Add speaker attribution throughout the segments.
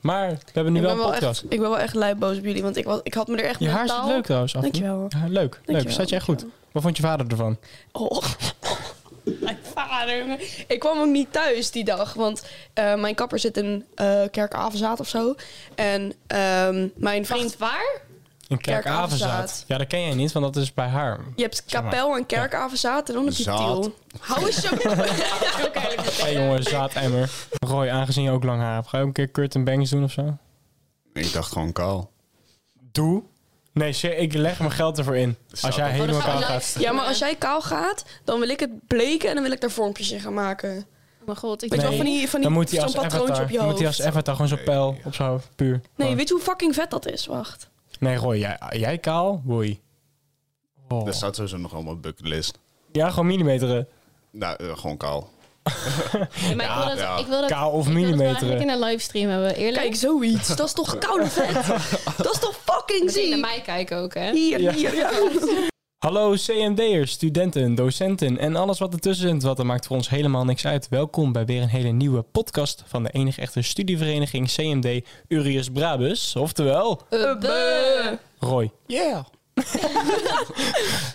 Speaker 1: Maar we hebben nu
Speaker 2: ik,
Speaker 1: wel
Speaker 2: ben
Speaker 1: een
Speaker 2: wel
Speaker 1: podcast.
Speaker 2: echt, ik ben wel echt lijp boos op jullie, want ik, was, ik had me er echt
Speaker 1: Je haar zit leuk trouwens. Af.
Speaker 2: Dankjewel.
Speaker 1: Ja, leuk, leuk.
Speaker 2: Dankjewel,
Speaker 1: Staat je echt goed. Wat vond je vader ervan?
Speaker 2: Oh. Mijn vader. jongen. Ik kwam ook niet thuis die dag, want eh, mijn kapper zit in eh Kerkavenzaad of zo. En ehm, mijn vriend...
Speaker 3: Vriend, waar?
Speaker 1: In
Speaker 2: Kerkavenzaad.
Speaker 1: Kerkavenzaad. Ja, dat ken jij niet, want dat is bij haar.
Speaker 2: Je hebt
Speaker 1: Zeg maar.
Speaker 2: kapel en kerkavenzaad en dan heb je
Speaker 4: Zaad.
Speaker 2: tiel. Hou eens zo...
Speaker 3: Ook eigenlijk niet.
Speaker 1: Hey jongen, zaademmer. Roy, aangezien je ook lang haar hebt, ga je ook een keer curtain bangs doen of zo?
Speaker 4: Ik dacht gewoon kaal.
Speaker 1: Doe. Nee, se- ik leg mijn geld ervoor in. Als
Speaker 2: Oh,
Speaker 1: jij helemaal
Speaker 3: gaan we
Speaker 1: kaal
Speaker 3: live
Speaker 1: gaat.
Speaker 3: streamen.
Speaker 2: Ja, maar als jij kaal gaat, dan wil ik het bleken en dan wil ik daar vormpjes in gaan maken.
Speaker 3: Oh mijn god, ik
Speaker 2: Weet je wel,
Speaker 1: Nee,
Speaker 2: van die, van die
Speaker 1: Dan moet hij
Speaker 2: zo'n
Speaker 1: als
Speaker 2: patroontje
Speaker 1: avatar,
Speaker 2: op je
Speaker 1: dan moet hij als
Speaker 2: hoofd.
Speaker 1: avatar gewoon zo'n pijl op zijn hoofd, puur.
Speaker 2: Nee,
Speaker 1: Gewoon.
Speaker 2: weet je hoe fucking vet dat is? Wacht.
Speaker 1: nee Roy, jij, jij kaal? Boei. Oh.
Speaker 4: Dat staat sowieso nog wel op mijn bucketlist.
Speaker 1: Ja, gewoon millimeteren.
Speaker 4: Nou, eh, gewoon kaal.
Speaker 3: maar ik
Speaker 1: Ja,
Speaker 3: wil dat,
Speaker 4: ja.
Speaker 3: ik wil dat,
Speaker 1: Kaal of
Speaker 3: ik wil dat wel
Speaker 1: millimeteren.
Speaker 3: eigenlijk in een livestream hebben, eerlijk.
Speaker 2: Kijk, zoiets. Dat is toch koude vet? Dat is toch fucking
Speaker 3: Moet je naar
Speaker 2: ziek?
Speaker 3: mij kijken ook, hè.
Speaker 2: Hier,
Speaker 1: Ja.
Speaker 2: hier, ja.
Speaker 1: Hallo CMD'ers, studenten, docenten en alles wat ertussen zit, want dat maakt voor ons helemaal niks uit. Welkom bij weer een hele nieuwe podcast van de enige echte studievereniging CMD Urius Brabus, oftewel
Speaker 3: Eh, buh.
Speaker 1: Roy.
Speaker 4: Yeah.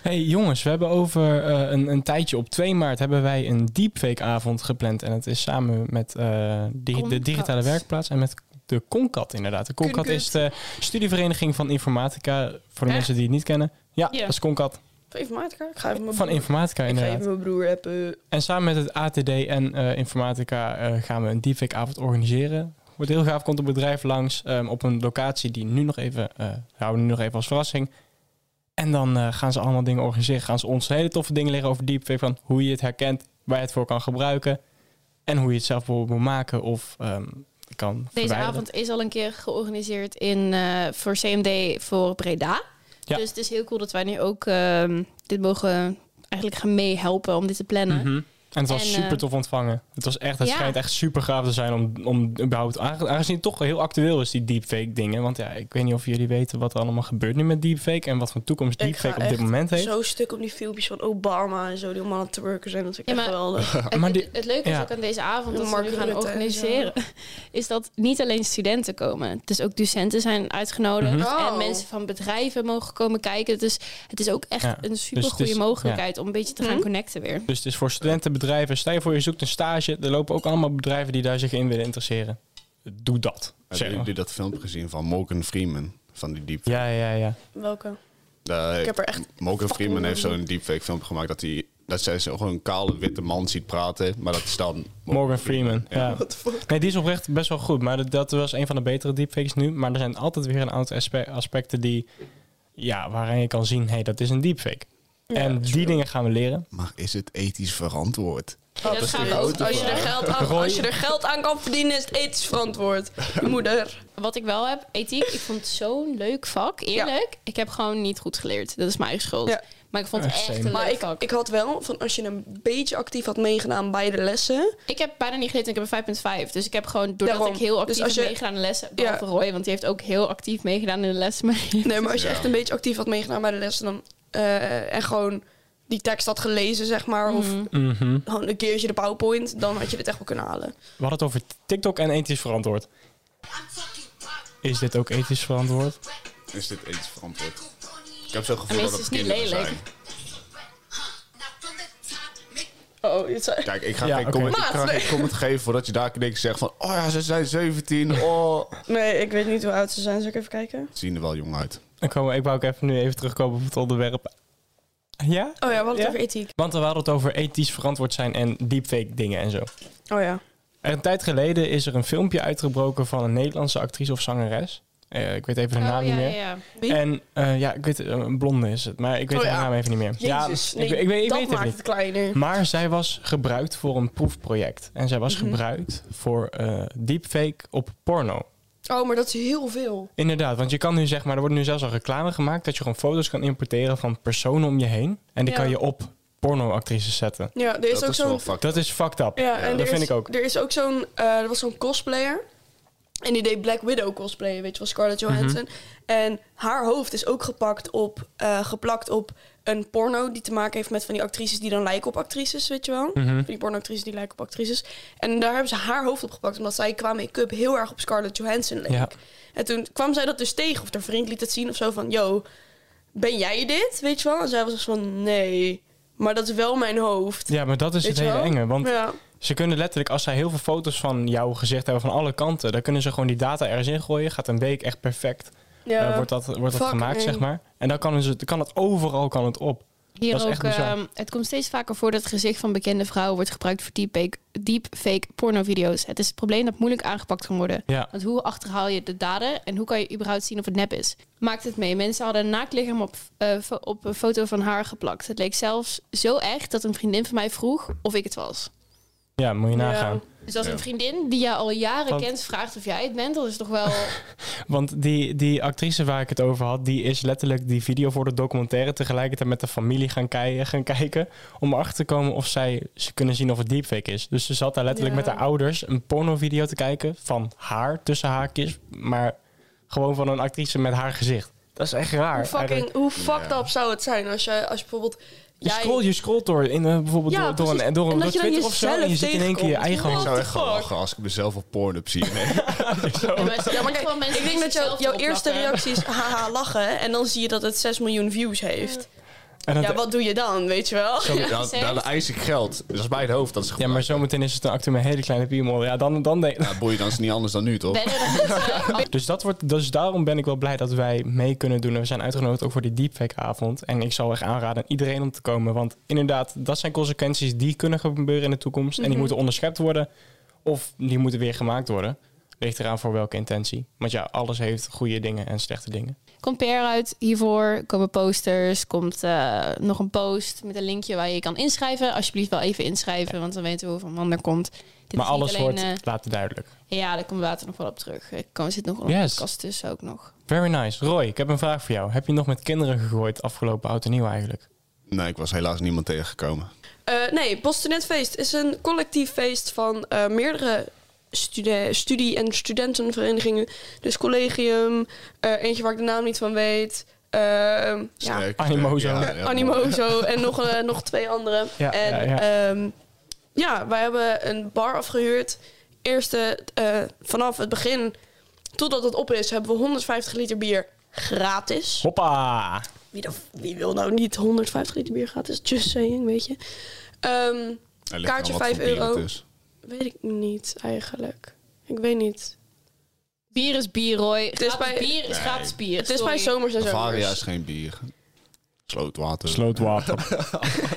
Speaker 1: Hey jongens, we hebben over eh, een, een tijdje op 2 maart hebben wij een deepfake avond gepland en het is samen met eh, di- de
Speaker 3: Concat.
Speaker 1: digitale werkplaats en met de Concat inderdaad. De Concat
Speaker 2: Concat.
Speaker 1: is de studievereniging van informatica, voor de mensen die het niet kennen. Ja,
Speaker 3: Ja.
Speaker 1: dat is Concat
Speaker 2: Even mijn kaart. Ik ga even mijn
Speaker 1: van
Speaker 2: broer,
Speaker 1: informatica
Speaker 2: ik ga
Speaker 1: inderdaad.
Speaker 2: even mijn broer appen.
Speaker 1: En samen met het ATD en eh, Informatica eh, gaan we een deepfake avond organiseren. Wordt heel gaaf, komt een bedrijf langs ehm, op een locatie die nu nog even, eh houden we nu nog even als verrassing. En dan eh, gaan ze allemaal dingen organiseren. Gaan ze ons hele toffe dingen leren over deepfake, van hoe je het herkent, waar je het voor kan gebruiken. En hoe je het zelf bijvoorbeeld moet maken of ehm, kan
Speaker 3: Deze
Speaker 1: verwijderen.
Speaker 3: avond is al een keer georganiseerd in, eh, voor CMD voor Breda.
Speaker 1: Ja.
Speaker 3: Dus het is heel cool dat wij nu ook ehm, dit mogen eigenlijk gaan meehelpen om dit te plannen.
Speaker 1: Mhm. En het was
Speaker 3: En, eh,
Speaker 1: super tof ontvangen. Het, was echt, het
Speaker 3: ja.
Speaker 1: schijnt echt super gaaf te zijn om, om überhaupt... aange- Aangezien het toch heel actueel is, die deepfake dingen. Want ja, ik weet niet of jullie weten wat er allemaal gebeurt nu met deepfake... en wat voor toekomst
Speaker 2: Ik
Speaker 1: deepfake
Speaker 2: ga
Speaker 1: op dit
Speaker 2: echt
Speaker 1: moment heeft.
Speaker 2: Zo'n stuk op die filmpjes van Obama en zo, die allemaal aan het te werken zijn. Dat vind ik
Speaker 3: Ja,
Speaker 2: echt
Speaker 3: maar-
Speaker 2: geweldig.
Speaker 3: Het,
Speaker 1: Maar die-
Speaker 3: het- het leuke
Speaker 1: ja.
Speaker 3: is ook aan deze avond
Speaker 2: De
Speaker 3: dat we
Speaker 2: Mark
Speaker 3: nu gaan
Speaker 2: Rutte en
Speaker 3: organiseren, is dat niet alleen studenten komen. Dus ook docenten zijn uitgenodigd.
Speaker 1: Mhm.
Speaker 2: Oh.
Speaker 3: En mensen van bedrijven mogen komen kijken. Dus het is ook echt
Speaker 1: Ja,
Speaker 3: een super
Speaker 1: dus het
Speaker 3: goede
Speaker 1: is-
Speaker 3: mogelijkheid om een beetje te gaan
Speaker 2: Mhm.
Speaker 3: connecten weer.
Speaker 1: Dus het is voor studentenbedrijven. Stel je voor, je zoekt een stage. Er lopen ook allemaal bedrijven die daar zich in willen interesseren. Doe dat. zeg
Speaker 4: Hebben
Speaker 1: maar.
Speaker 4: jullie dat filmpje gezien van Morgan Freeman? Van die deep.
Speaker 1: Ja, ja, ja.
Speaker 2: Welke?
Speaker 4: Eh,
Speaker 2: Ik heb er echt...
Speaker 4: Morgan Freeman
Speaker 2: fucking
Speaker 4: heeft zo'n deepfake film gemaakt dat hij dat zij zo gewoon een kale witte man ziet praten, maar dat is dan
Speaker 1: Morgan Freeman. Ja.
Speaker 2: What the fuck?
Speaker 1: Nee, die is oprecht best wel goed. Maar dat, dat was een van de betere deepfakes nu. Maar er zijn altijd weer een aantal aspe- aspecten die... Ja, waarin je kan zien, hé, hey, dat is een deepfake. en die dingen gaan we leren.
Speaker 4: Maar is het ethisch verantwoord?
Speaker 3: Ja, dat
Speaker 4: is
Speaker 3: gaan
Speaker 4: de
Speaker 3: we ook
Speaker 4: grote
Speaker 3: doen.
Speaker 2: Als je, er geld aan, als je er geld aan kan verdienen, is het ethisch verantwoord. Je moeder.
Speaker 3: Wat ik wel heb, ethiek, ik vond het zo'n leuk vak. Eerlijk, ik heb gewoon niet goed geleerd. Dat is mijn eigen schuld.
Speaker 2: Ja.
Speaker 3: Maar ik vond het
Speaker 1: Eh,
Speaker 3: echt
Speaker 1: same.
Speaker 3: een leuk
Speaker 2: Maar ik,
Speaker 3: vak.
Speaker 2: ik had wel, van als je een beetje actief had meegedaan bij de lessen...
Speaker 3: Ik heb bijna niet geleerd en ik heb een 5.5. Dus ik heb gewoon, doordat
Speaker 2: Daarom.
Speaker 3: ik heel
Speaker 2: Dus
Speaker 3: actief
Speaker 2: als je-
Speaker 3: heb meegedaan in lessen... Behalve
Speaker 2: Ja.
Speaker 3: Roy, want die heeft ook heel actief meegedaan in de lessen. Maar
Speaker 2: Nee, maar als je
Speaker 4: Ja.
Speaker 2: echt een beetje actief had meegedaan bij de lessen... Dan, eh, en gewoon die tekst had gelezen, zeg maar... Of
Speaker 1: Mhm.
Speaker 2: gewoon een keertje de PowerPoint... dan had je dit echt wel kunnen halen.
Speaker 1: We hadden het over TikTok en ethisch verantwoord. Is dit ook ethisch verantwoord?
Speaker 4: Is dit ethisch verantwoord? Ik heb zo'n gevoel
Speaker 3: Tenminste,
Speaker 4: dat het
Speaker 3: het is niet
Speaker 4: kinderen
Speaker 3: lelijk.
Speaker 4: zijn.
Speaker 2: Oh, dit zijn...
Speaker 4: Kijk, ik ga,
Speaker 1: Ja,
Speaker 4: geen,
Speaker 1: oké.
Speaker 4: comment, ik
Speaker 2: Maat,
Speaker 4: ga
Speaker 2: nee.
Speaker 4: geen comment geven voordat je daar niks zegt van... Oh ja, ze zijn 17. Oh.
Speaker 2: Nee, ik weet niet hoe oud ze zijn. Zal ik even kijken?
Speaker 4: Ze zien er wel jong uit.
Speaker 1: Dan komen, ik wou ook even, nu even terugkomen op het onderwerp. Ja?
Speaker 2: Oh ja, we hadden het
Speaker 1: Ja?
Speaker 2: over ethiek.
Speaker 1: Want we hadden het over ethisch verantwoord zijn en deepfake dingen en zo.
Speaker 2: Oh ja.
Speaker 1: En Een tijd geleden is er een filmpje uitgebroken van een Nederlandse actrice of zangeres. Eh, ik weet even
Speaker 2: Oh
Speaker 1: haar
Speaker 3: Oh,
Speaker 1: naam niet meer.
Speaker 2: Wie?
Speaker 1: En eh, ja, ik weet, eh, een blonde is het, maar ik weet
Speaker 2: Oh,
Speaker 1: haar
Speaker 2: ja.
Speaker 1: naam even niet meer.
Speaker 2: Jezus,
Speaker 1: ja, dus
Speaker 2: nee,
Speaker 1: ik, ik, weet- ik
Speaker 2: dat
Speaker 1: weet het
Speaker 2: maakt
Speaker 1: niet.
Speaker 2: het kleiner.
Speaker 1: Maar zij was gebruikt voor een proefproject. En zij was
Speaker 2: Mhm.
Speaker 1: gebruikt voor eh, deepfake op porno.
Speaker 2: Oh, maar dat is heel veel.
Speaker 1: Inderdaad, want je kan nu zeg maar, er wordt nu zelfs al reclame gemaakt dat je gewoon foto's kan importeren van personen om je heen. En die
Speaker 2: Ja.
Speaker 1: kan je op pornoactrices zetten.
Speaker 2: Ja, er is
Speaker 4: dat
Speaker 2: ook
Speaker 4: is wel
Speaker 2: zo'n...
Speaker 4: fucked
Speaker 1: Dat is fucked up.
Speaker 2: Ja, en
Speaker 1: dat
Speaker 2: er
Speaker 1: vind
Speaker 2: is-
Speaker 1: ik ook.
Speaker 2: Er is ook zo'n... eh, er was zo'n cosplayer. En die deed Black Widow cosplayen, weet je wel, Scarlett
Speaker 1: Mhm.
Speaker 2: Johansson. En haar hoofd is ook gepakt op, eh, geplakt op een porno die te maken heeft met van die actrices die dan lijken op actrices, weet je wel.
Speaker 1: Mhm.
Speaker 2: Van die pornoactrices die lijken op actrices. En daar hebben ze haar hoofd op gepakt, omdat zij qua make-up heel erg op Scarlett Johansson leek.
Speaker 1: Ja.
Speaker 2: En toen kwam zij dat dus tegen, of haar vriend liet het zien of zo van, yo, ben jij dit, weet je wel? En zij was dus van, nee, maar dat is wel mijn hoofd.
Speaker 1: Ja, maar dat is
Speaker 2: Weet
Speaker 1: het
Speaker 2: je
Speaker 1: hele
Speaker 2: wel?
Speaker 1: enge. Want
Speaker 2: Ja.
Speaker 1: ze kunnen letterlijk, als zij heel veel foto's van jouw gezicht hebben van alle kanten, dan kunnen ze gewoon die data ergens in gooien. Gaat een week echt perfect.
Speaker 2: Ja.
Speaker 1: eh, wordt dat, wordt dat
Speaker 2: Fuck,
Speaker 1: gemaakt,
Speaker 2: nee.
Speaker 1: zeg maar. En dan kan, ze, dan kan het overal kan het op.
Speaker 3: Hier
Speaker 1: Dat is echt
Speaker 3: ook,
Speaker 1: bizar.
Speaker 3: ehm, het komt steeds vaker voor dat het gezicht van bekende vrouwen wordt gebruikt voor deepfake, deepfake pornovideo's. Het is het probleem dat moeilijk aangepakt kan worden.
Speaker 1: Ja.
Speaker 3: Want hoe achterhaal je de daden en hoe kan je überhaupt zien of het nep is? Maakt het mee. Mensen hadden een naaktlichaam op, eh, fo- op een foto van haar geplakt. Het leek zelfs zo echt dat een vriendin van mij vroeg of ik het was.
Speaker 1: ja, moet je
Speaker 2: Ja.
Speaker 1: nagaan.
Speaker 3: Dus als
Speaker 4: Ja.
Speaker 3: een vriendin die je al jaren
Speaker 1: Want-
Speaker 3: kent vraagt of jij het bent, dat is toch
Speaker 2: Oh.
Speaker 3: wel...
Speaker 1: Want die, die actrice waar ik het over had, die is letterlijk die video voor de documentaire tegelijkertijd met de familie gaan, kei- gaan kijken. Om erachter te komen of zij ze kunnen zien of het deepfake is. Dus ze zat daar letterlijk
Speaker 2: Ja.
Speaker 1: met haar ouders een pornovideo te kijken van haar tussen haakjes. Maar gewoon van een actrice met haar gezicht. Dat is echt raar.
Speaker 2: Hoe fucking,
Speaker 1: eigenlijk.
Speaker 2: hoe fucked
Speaker 4: Ja.
Speaker 2: up zou het zijn als je, als je bijvoorbeeld...
Speaker 1: Je
Speaker 2: jij-
Speaker 1: scrolt, je scrolt door, in, eh, bijvoorbeeld
Speaker 2: Ja,
Speaker 1: door, door
Speaker 2: precies.
Speaker 1: een, door,
Speaker 2: En
Speaker 1: door
Speaker 2: dat je dan
Speaker 1: Twitter of zo. En je
Speaker 2: jezelf
Speaker 1: ziet in één keer je
Speaker 2: tegenkomt.
Speaker 1: eigen
Speaker 4: Ik
Speaker 2: What
Speaker 4: zou
Speaker 2: the
Speaker 4: echt
Speaker 2: fuck?
Speaker 4: gaan lachen als ik mezelf op Pornhub zie. Nee.
Speaker 3: Ja, maar gewoon mensen
Speaker 2: Ik denk dat jou,
Speaker 3: die zichzelf
Speaker 2: jouw
Speaker 3: erop
Speaker 2: eerste
Speaker 3: lachen.
Speaker 2: reactie is haha lachen. En dan zie je dat het 6 miljoen views heeft.
Speaker 1: En
Speaker 2: Ja,
Speaker 1: dat-
Speaker 2: wat doe je dan, weet je wel?
Speaker 4: Zo,
Speaker 3: Ja,
Speaker 4: dan,
Speaker 3: zeker.
Speaker 4: dan eis ik geld. Dat is bij het hoofd. Dat is
Speaker 1: ja, maar zometeen is het een acteur met een hele kleine piemel. Ja, dan, dan denk
Speaker 4: Nou, boeien, dan is het niet anders dan nu, toch?
Speaker 3: Ben er mensen-
Speaker 1: Dus, dat wordt, dus daarom ben ik wel blij dat wij mee kunnen doen. En we zijn uitgenodigd ook voor die deepfake-avond. En ik zal echt aanraden aan iedereen om te komen. Want inderdaad, dat zijn consequenties die kunnen gebeuren in de toekomst. En
Speaker 3: Mhm.
Speaker 1: die moeten onderschept worden. Of die moeten weer gemaakt worden. Ligt eraan voor welke intentie. Want ja, alles heeft goede dingen en slechte dingen.
Speaker 3: Komt PR uit hiervoor, komen posters, komt eh, nog een post met een linkje waar je je kan inschrijven. Alsjeblieft wel even inschrijven, want dan weten we hoeveel man er komt. Dit
Speaker 1: maar
Speaker 3: is niet
Speaker 1: alles
Speaker 3: alleen,
Speaker 1: wordt
Speaker 3: eh,
Speaker 1: later duidelijk.
Speaker 3: ja, daar komen we later nog wel op terug. Er komen- zit nog een
Speaker 1: Yes.
Speaker 3: podcast tussen ook nog.
Speaker 1: Very nice. Roy, ik heb een vraag voor jou. Heb je nog met kinderen gegooid afgelopen oud en nieuw eigenlijk?
Speaker 4: Nee, ik was helaas niemand tegengekomen.
Speaker 2: Eh, nee, Bostonetfeest is een collectief feest van eh, meerdere stude- studie- en studentenverenigingen. Dus collegium, eh, eentje waar ik de naam niet van weet. ehm, ja,
Speaker 4: Sterk,
Speaker 1: Animozo.
Speaker 4: sterk,
Speaker 1: Ja,
Speaker 4: heel mooi.
Speaker 2: Animozo en nog, eh, nog twee andere.
Speaker 1: Ja,
Speaker 2: en
Speaker 1: ja,
Speaker 2: ja, ja, wij hebben een bar afgehuurd. Eerste, eh, vanaf het begin totdat het op is, hebben we 150 liter bier gratis.
Speaker 1: Hoppa!
Speaker 2: Wie, de f- wie wil nou niet 150 liter bier gratis? Just saying, weet je. Ehm,
Speaker 4: Er ligt
Speaker 2: Kaartje
Speaker 4: aan wat voor
Speaker 2: 5
Speaker 4: bier het
Speaker 2: euro.
Speaker 4: is.
Speaker 2: weet ik niet eigenlijk. Ik weet niet.
Speaker 3: Bier is bier, Roy. Het
Speaker 2: is
Speaker 3: is
Speaker 2: bij-
Speaker 3: bier is
Speaker 4: Nee.
Speaker 3: gratis bier.
Speaker 2: Het is
Speaker 3: Sorry.
Speaker 2: bij zomers en
Speaker 4: Bavaria is
Speaker 2: zomers.
Speaker 4: geen bier. Slootwater.
Speaker 1: Slootwater.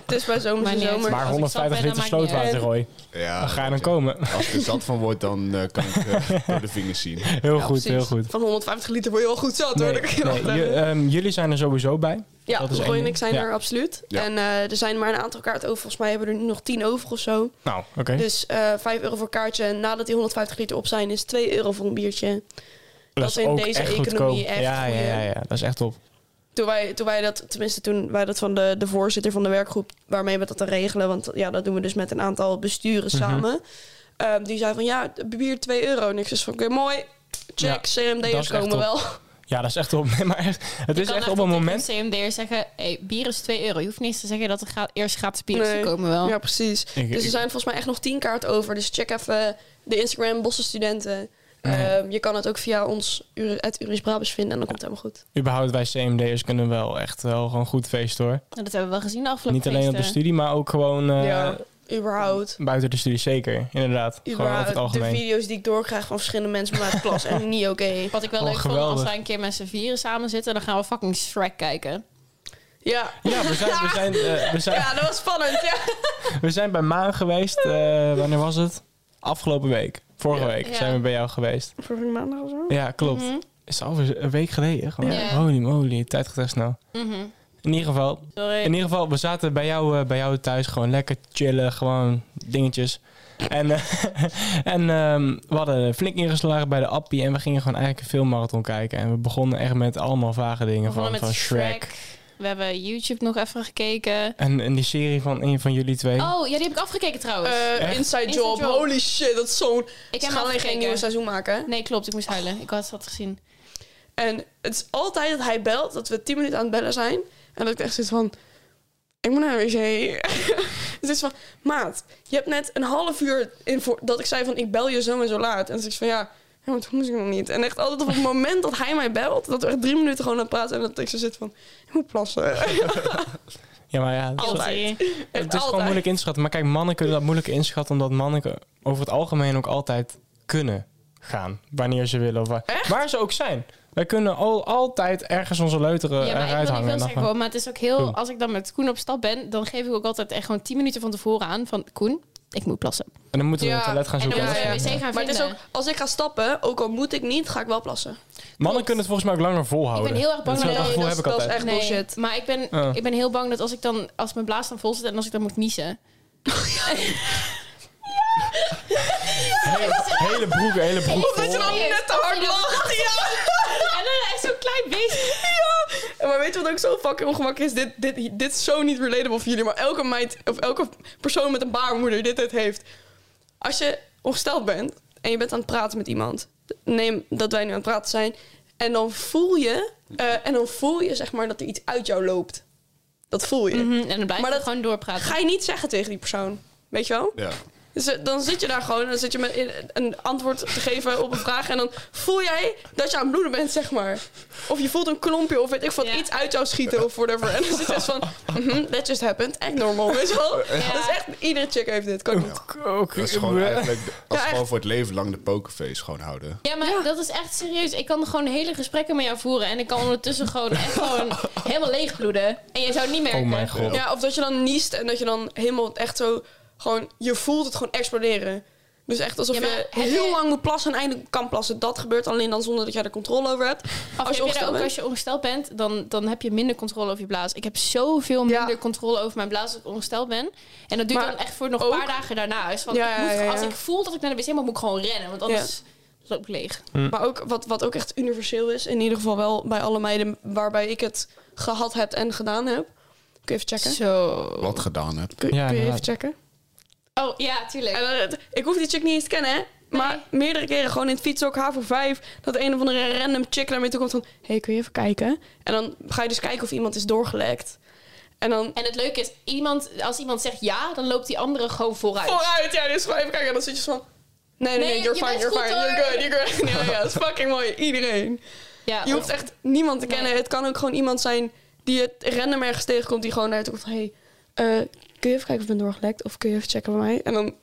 Speaker 2: Het is bij zomers en
Speaker 3: Maar niet.
Speaker 2: zomers.
Speaker 1: Maar
Speaker 3: als ik
Speaker 1: 150
Speaker 3: zat ben,
Speaker 1: liter
Speaker 3: dan maakt niet
Speaker 1: slootwater,
Speaker 2: uit.
Speaker 1: Roy.
Speaker 4: Ja,
Speaker 1: Dan ga je dan
Speaker 4: dat-
Speaker 1: komen.
Speaker 4: Als ik er zat van word, dan eh, kan ik eh, door de vingers zien.
Speaker 1: Heel
Speaker 2: Ja,
Speaker 1: goed,
Speaker 2: precies.
Speaker 1: heel goed.
Speaker 2: Van 150 liter word je wel goed zat hoor.
Speaker 1: Nee,
Speaker 2: Dat kan je wel
Speaker 1: nee, je- ehm, jullie zijn er sowieso bij.
Speaker 2: Ja,
Speaker 1: Dat is
Speaker 2: Roy
Speaker 1: één
Speaker 2: en ik
Speaker 1: ding.
Speaker 2: zijn
Speaker 1: Ja.
Speaker 2: er absoluut.
Speaker 4: Ja.
Speaker 2: En eh, er zijn maar een aantal kaarten over. Volgens mij hebben we er nu nog 10 over of zo.
Speaker 1: Nou, oké.
Speaker 2: Dus eh 5 euro voor kaartje. En nadat die 150 liter op zijn, is 2 euro voor een biertje.
Speaker 1: dat
Speaker 2: is in deze economie echt
Speaker 1: ja, ja,
Speaker 2: goeie-
Speaker 1: ja, ja, dat is echt top.
Speaker 2: Toen wij, toen wij dat, tenminste toen wij dat van de, de voorzitter van de werkgroep, waarmee we dat dan regelen. Want ja, dat doen we dus met een aantal besturen
Speaker 1: Mhm.
Speaker 2: samen. Ehm, die zei van ja, bier 2 euro. En ik zei van oké, mooi.
Speaker 1: Ja,
Speaker 2: Check,
Speaker 1: dat is
Speaker 2: CMD'ers
Speaker 1: echt
Speaker 2: komen
Speaker 1: top.
Speaker 2: wel.
Speaker 1: Ja, dat is echt top. Nee, maar echt, het
Speaker 3: Je
Speaker 1: is
Speaker 3: kan
Speaker 1: echt op een
Speaker 3: tegen
Speaker 1: moment.
Speaker 3: een CMD'er zeggen, hey, bier is 2 euro. Je hoeft niet eens te zeggen dat er gra- eerst gratis bier is.
Speaker 2: Nee.
Speaker 3: Die komen wel.
Speaker 2: Ja, precies.
Speaker 1: Ik-
Speaker 2: dus
Speaker 1: ik-
Speaker 2: er zijn volgens mij echt nog tien kaarten over. Dus check even de Instagram Bosse Studenten.
Speaker 1: Nee.
Speaker 2: Ehm, je kan het ook via ons, Uri- het Uris Brabus vinden en dan komt het helemaal goed.
Speaker 1: Überhaupt, wij CMD'ers kunnen wel echt wel gewoon goed feesten hoor.
Speaker 3: En Nou, Dat hebben we wel gezien de afgelopen
Speaker 1: Niet alleen op de
Speaker 3: feesten.
Speaker 1: studie, maar ook gewoon eh,
Speaker 2: ja, überhaupt.
Speaker 1: buiten de studie zeker. Inderdaad, gewoon over het
Speaker 2: Überhaupt de
Speaker 1: algemeen.
Speaker 2: video's die ik doorkrijg van verschillende mensen vanuit de klas. en niet oké.
Speaker 3: Wat ik wel
Speaker 1: Oh,
Speaker 3: leuk vond,
Speaker 1: geweldig.
Speaker 3: als wij een keer met z'n vieren samen zitten, dan gaan we fucking Shrek kijken.
Speaker 2: Ja.
Speaker 1: Ja, we zijn, we, zijn, eh, we, zijn,
Speaker 2: ja, dat was spannend. Ja.
Speaker 1: we zijn bij Maan geweest. eh, wanneer was het? Afgelopen week. Vorige week
Speaker 3: Ja.
Speaker 1: zijn we bij jou geweest.
Speaker 2: Vorige maandag of zo?
Speaker 1: Ja, klopt.
Speaker 3: Mhm.
Speaker 1: Is alweer een week geleden. Gewoon.
Speaker 3: Ja.
Speaker 1: Holy moly, tijd gaat echt snel.
Speaker 3: Mhm.
Speaker 1: In ieder geval,
Speaker 3: Sorry.
Speaker 1: In ieder geval, we zaten bij jou, eh, bij jou thuis gewoon lekker chillen, gewoon dingetjes. En, eh, en ehm, we hadden flink ingeslagen bij de appie en we gingen gewoon eigenlijk een filmmarathon kijken. En we begonnen echt met allemaal vage dingen
Speaker 3: We begonnen
Speaker 1: van, van Shrek.
Speaker 3: we hebben YouTube nog even gekeken.
Speaker 1: En, en die serie van een van jullie twee.
Speaker 3: Oh, ja, die heb ik afgekeken trouwens.
Speaker 2: Eh,
Speaker 1: Echt?
Speaker 2: inside,
Speaker 3: Inside
Speaker 2: job.
Speaker 3: Job.
Speaker 2: Holy shit, dat is zo'n...
Speaker 3: ik
Speaker 2: Ze
Speaker 3: heb
Speaker 2: gaan
Speaker 3: hem
Speaker 2: alleen geen
Speaker 3: afgekeken.
Speaker 2: nieuw seizoen maken. hè?
Speaker 3: Nee, klopt. Ik moest huilen. Ik had het gezien.
Speaker 2: En het is altijd dat hij belt, dat we tien minuten aan het bellen zijn. En dat ik echt zit van... Ik moet naar de wc. dus het is van... Maat, je hebt net een half uur... In voor, dat ik zei van, ik bel je zo en zo laat. En dan zeg ik van, ja... Ja, maar toen moest ik nog niet. En echt altijd op het moment dat hij mij belt... dat we echt drie minuten gewoon aan het praten... en dat ik zo zit van, ik moet plassen.
Speaker 1: Ja, maar ja, dat is-
Speaker 2: Altijd.
Speaker 3: Guilty.
Speaker 1: het is
Speaker 2: Echt altijd.
Speaker 1: gewoon moeilijk inschatten. Maar kijk, mannen kunnen dat moeilijk inschatten, omdat mannen over het algemeen ook altijd kunnen gaan. Wanneer ze willen of waar, waar ze ook zijn. Wij kunnen al, altijd ergens onze leuteren
Speaker 3: Ja, maar
Speaker 1: eruit
Speaker 3: ik wil niet
Speaker 1: hangen.
Speaker 3: veel
Speaker 1: en dan
Speaker 3: zeggen
Speaker 1: gaan-
Speaker 3: hoor, maar het is ook heel...
Speaker 1: Doen.
Speaker 3: Als ik dan met Koen op stap ben, dan geef ik ook altijd echt gewoon 10 minuten van tevoren aan van... Koen, ik moet plassen.
Speaker 1: en dan moeten we
Speaker 2: Ja,
Speaker 1: een toilet gaan
Speaker 3: en dan
Speaker 1: zoeken.
Speaker 2: moet
Speaker 1: dat
Speaker 2: je
Speaker 1: soort
Speaker 2: een
Speaker 1: dingen.
Speaker 3: wc gaan
Speaker 2: Maar het is ook,
Speaker 3: vinden.
Speaker 2: als ik ga stappen... ook al moet ik niet, ga ik wel plassen.
Speaker 1: Mannen kunnen het volgens mij ook langer volhouden.
Speaker 3: Ik ben heel erg bang
Speaker 1: dat
Speaker 3: dat-
Speaker 1: dat gevoel
Speaker 2: dat-
Speaker 1: heb ik
Speaker 2: dat is
Speaker 1: altijd.
Speaker 2: echt bullshit.
Speaker 3: Maar ik ben,
Speaker 1: Ja.
Speaker 3: ik ben heel bang dat als ik dan... Als mijn blaas dan vol zit en als ik dan moet niezen...
Speaker 1: Hele, hele broek, hele broek.
Speaker 2: Dat je
Speaker 1: vol.
Speaker 2: dan
Speaker 3: Serieus?
Speaker 2: net te hard lacht. Ja.
Speaker 3: En dan echt zo'n klein beetje.
Speaker 2: Ja, maar weet je wat ook zo fucking ongemakkelijk is? Dit, dit, dit is zo niet relatable voor jullie, maar elke meid of elke persoon met een baarmoeder dit, dit heeft. Als je ongesteld bent en je bent aan het praten met iemand, neem dat wij nu aan het praten zijn, en dan voel je, eh, en dan voel je zeg maar dat er iets uit jou loopt. Dat voel je.
Speaker 3: Mhm, En dan blijf
Speaker 2: Maar
Speaker 3: ik
Speaker 2: dat-
Speaker 3: gewoon doorpraten.
Speaker 2: Ga je niet zeggen tegen die persoon, weet je wel?
Speaker 4: Ja.
Speaker 2: Dus eh, dan zit je daar gewoon en dan zit je met in- een antwoord te geven op een vraag. En dan voel jij dat je aan het bloeden bent, zeg maar. Of je voelt een klompje of weet ik wat,
Speaker 3: Ja.
Speaker 2: iets uit jou schieten of whatever. En dan zit je echt van, mhm, that just happened. Echt normal, weet je wel?
Speaker 3: Ja.
Speaker 2: Dat is echt, iedere chick heeft dit. Kan niet.
Speaker 1: Ook- ook-
Speaker 4: Dat is gewoon eigenlijk... Dat is
Speaker 2: echt.
Speaker 4: gewoon voor het leven lang de pokerface gewoon houden.
Speaker 3: Ja, maar dat is echt serieus. Ik kan gewoon hele gesprekken met jou voeren. En ik kan ondertussen gewoon echt gewoon helemaal leegbloeden. En jij zou het niet merken.
Speaker 1: Oh mijn god.
Speaker 2: Ja, of dat je dan niest en dat je dan helemaal echt zo gewoon, je voelt het gewoon exploderen. Dus echt alsof
Speaker 3: Ja, maar
Speaker 2: je
Speaker 3: heb
Speaker 2: heel
Speaker 3: je-
Speaker 2: lang moet plassen en eindelijk kan plassen. Dat gebeurt alleen dan zonder dat jij er controle over hebt.
Speaker 3: Of
Speaker 2: als je
Speaker 3: heb je daar
Speaker 2: ongesteld
Speaker 3: ook
Speaker 2: bent.
Speaker 3: als je ongesteld bent, dan, dan heb je minder controle over je blaas. Ik heb zoveel
Speaker 2: Ja.
Speaker 3: minder controle over mijn blaas als ik ongesteld ben. En dat duurt
Speaker 2: Maar
Speaker 3: dan echt voor nog
Speaker 2: ook-
Speaker 3: een paar dagen daarna. Dus van,
Speaker 2: Ja,
Speaker 3: ik moet-
Speaker 2: ja, ja,
Speaker 3: Als
Speaker 2: ja.
Speaker 3: ik voel dat ik naar de wc moet, moet ik gewoon rennen. Want anders loop ik leeg.
Speaker 2: Maar ook wat, wat ook echt universeel is, in ieder geval wel bij alle meiden waarbij ik het gehad heb en gedaan heb. Kun je even checken?
Speaker 3: Zo.
Speaker 4: Wat gedaan hebt.
Speaker 2: Kun,
Speaker 1: Ja,
Speaker 2: kun je even
Speaker 1: inderdaad.
Speaker 2: checken?
Speaker 3: Oh, ja, tuurlijk.
Speaker 2: En eh, dan, het- ik hoef die chick niet eens te kennen, hè? Maar meerdere keren gewoon in het fiets ook haar voor vijf. Dat een of andere random chick naar mij toe komt van... Hé, hey, kun je even kijken? En dan ga je dus kijken of iemand is doorgelekt. En dan...
Speaker 3: En het leuke is, iemand, als iemand zegt ja, dan loopt die andere gewoon vooruit.
Speaker 2: Vooruit, ja, dus gewoon even kijken. En dan zit je zo van... Nee, nee,
Speaker 3: Nee,
Speaker 2: nee, you're
Speaker 3: je
Speaker 2: fine,
Speaker 3: bent
Speaker 2: you're
Speaker 3: goed,
Speaker 2: fine, you're
Speaker 3: hoor.
Speaker 2: good, you're good. Ja, ja, dat is fucking mooi. Iedereen.
Speaker 3: Ja,
Speaker 2: Je hoeft echt niemand te
Speaker 3: Nee.
Speaker 2: kennen. Het kan ook gewoon iemand zijn die het random ergens tegenkomt. Die gewoon naar je toe komt van... Hey, eh, kun je even kijken of ik ben doorgelekt? Of kun je even checken bij mij? En dan...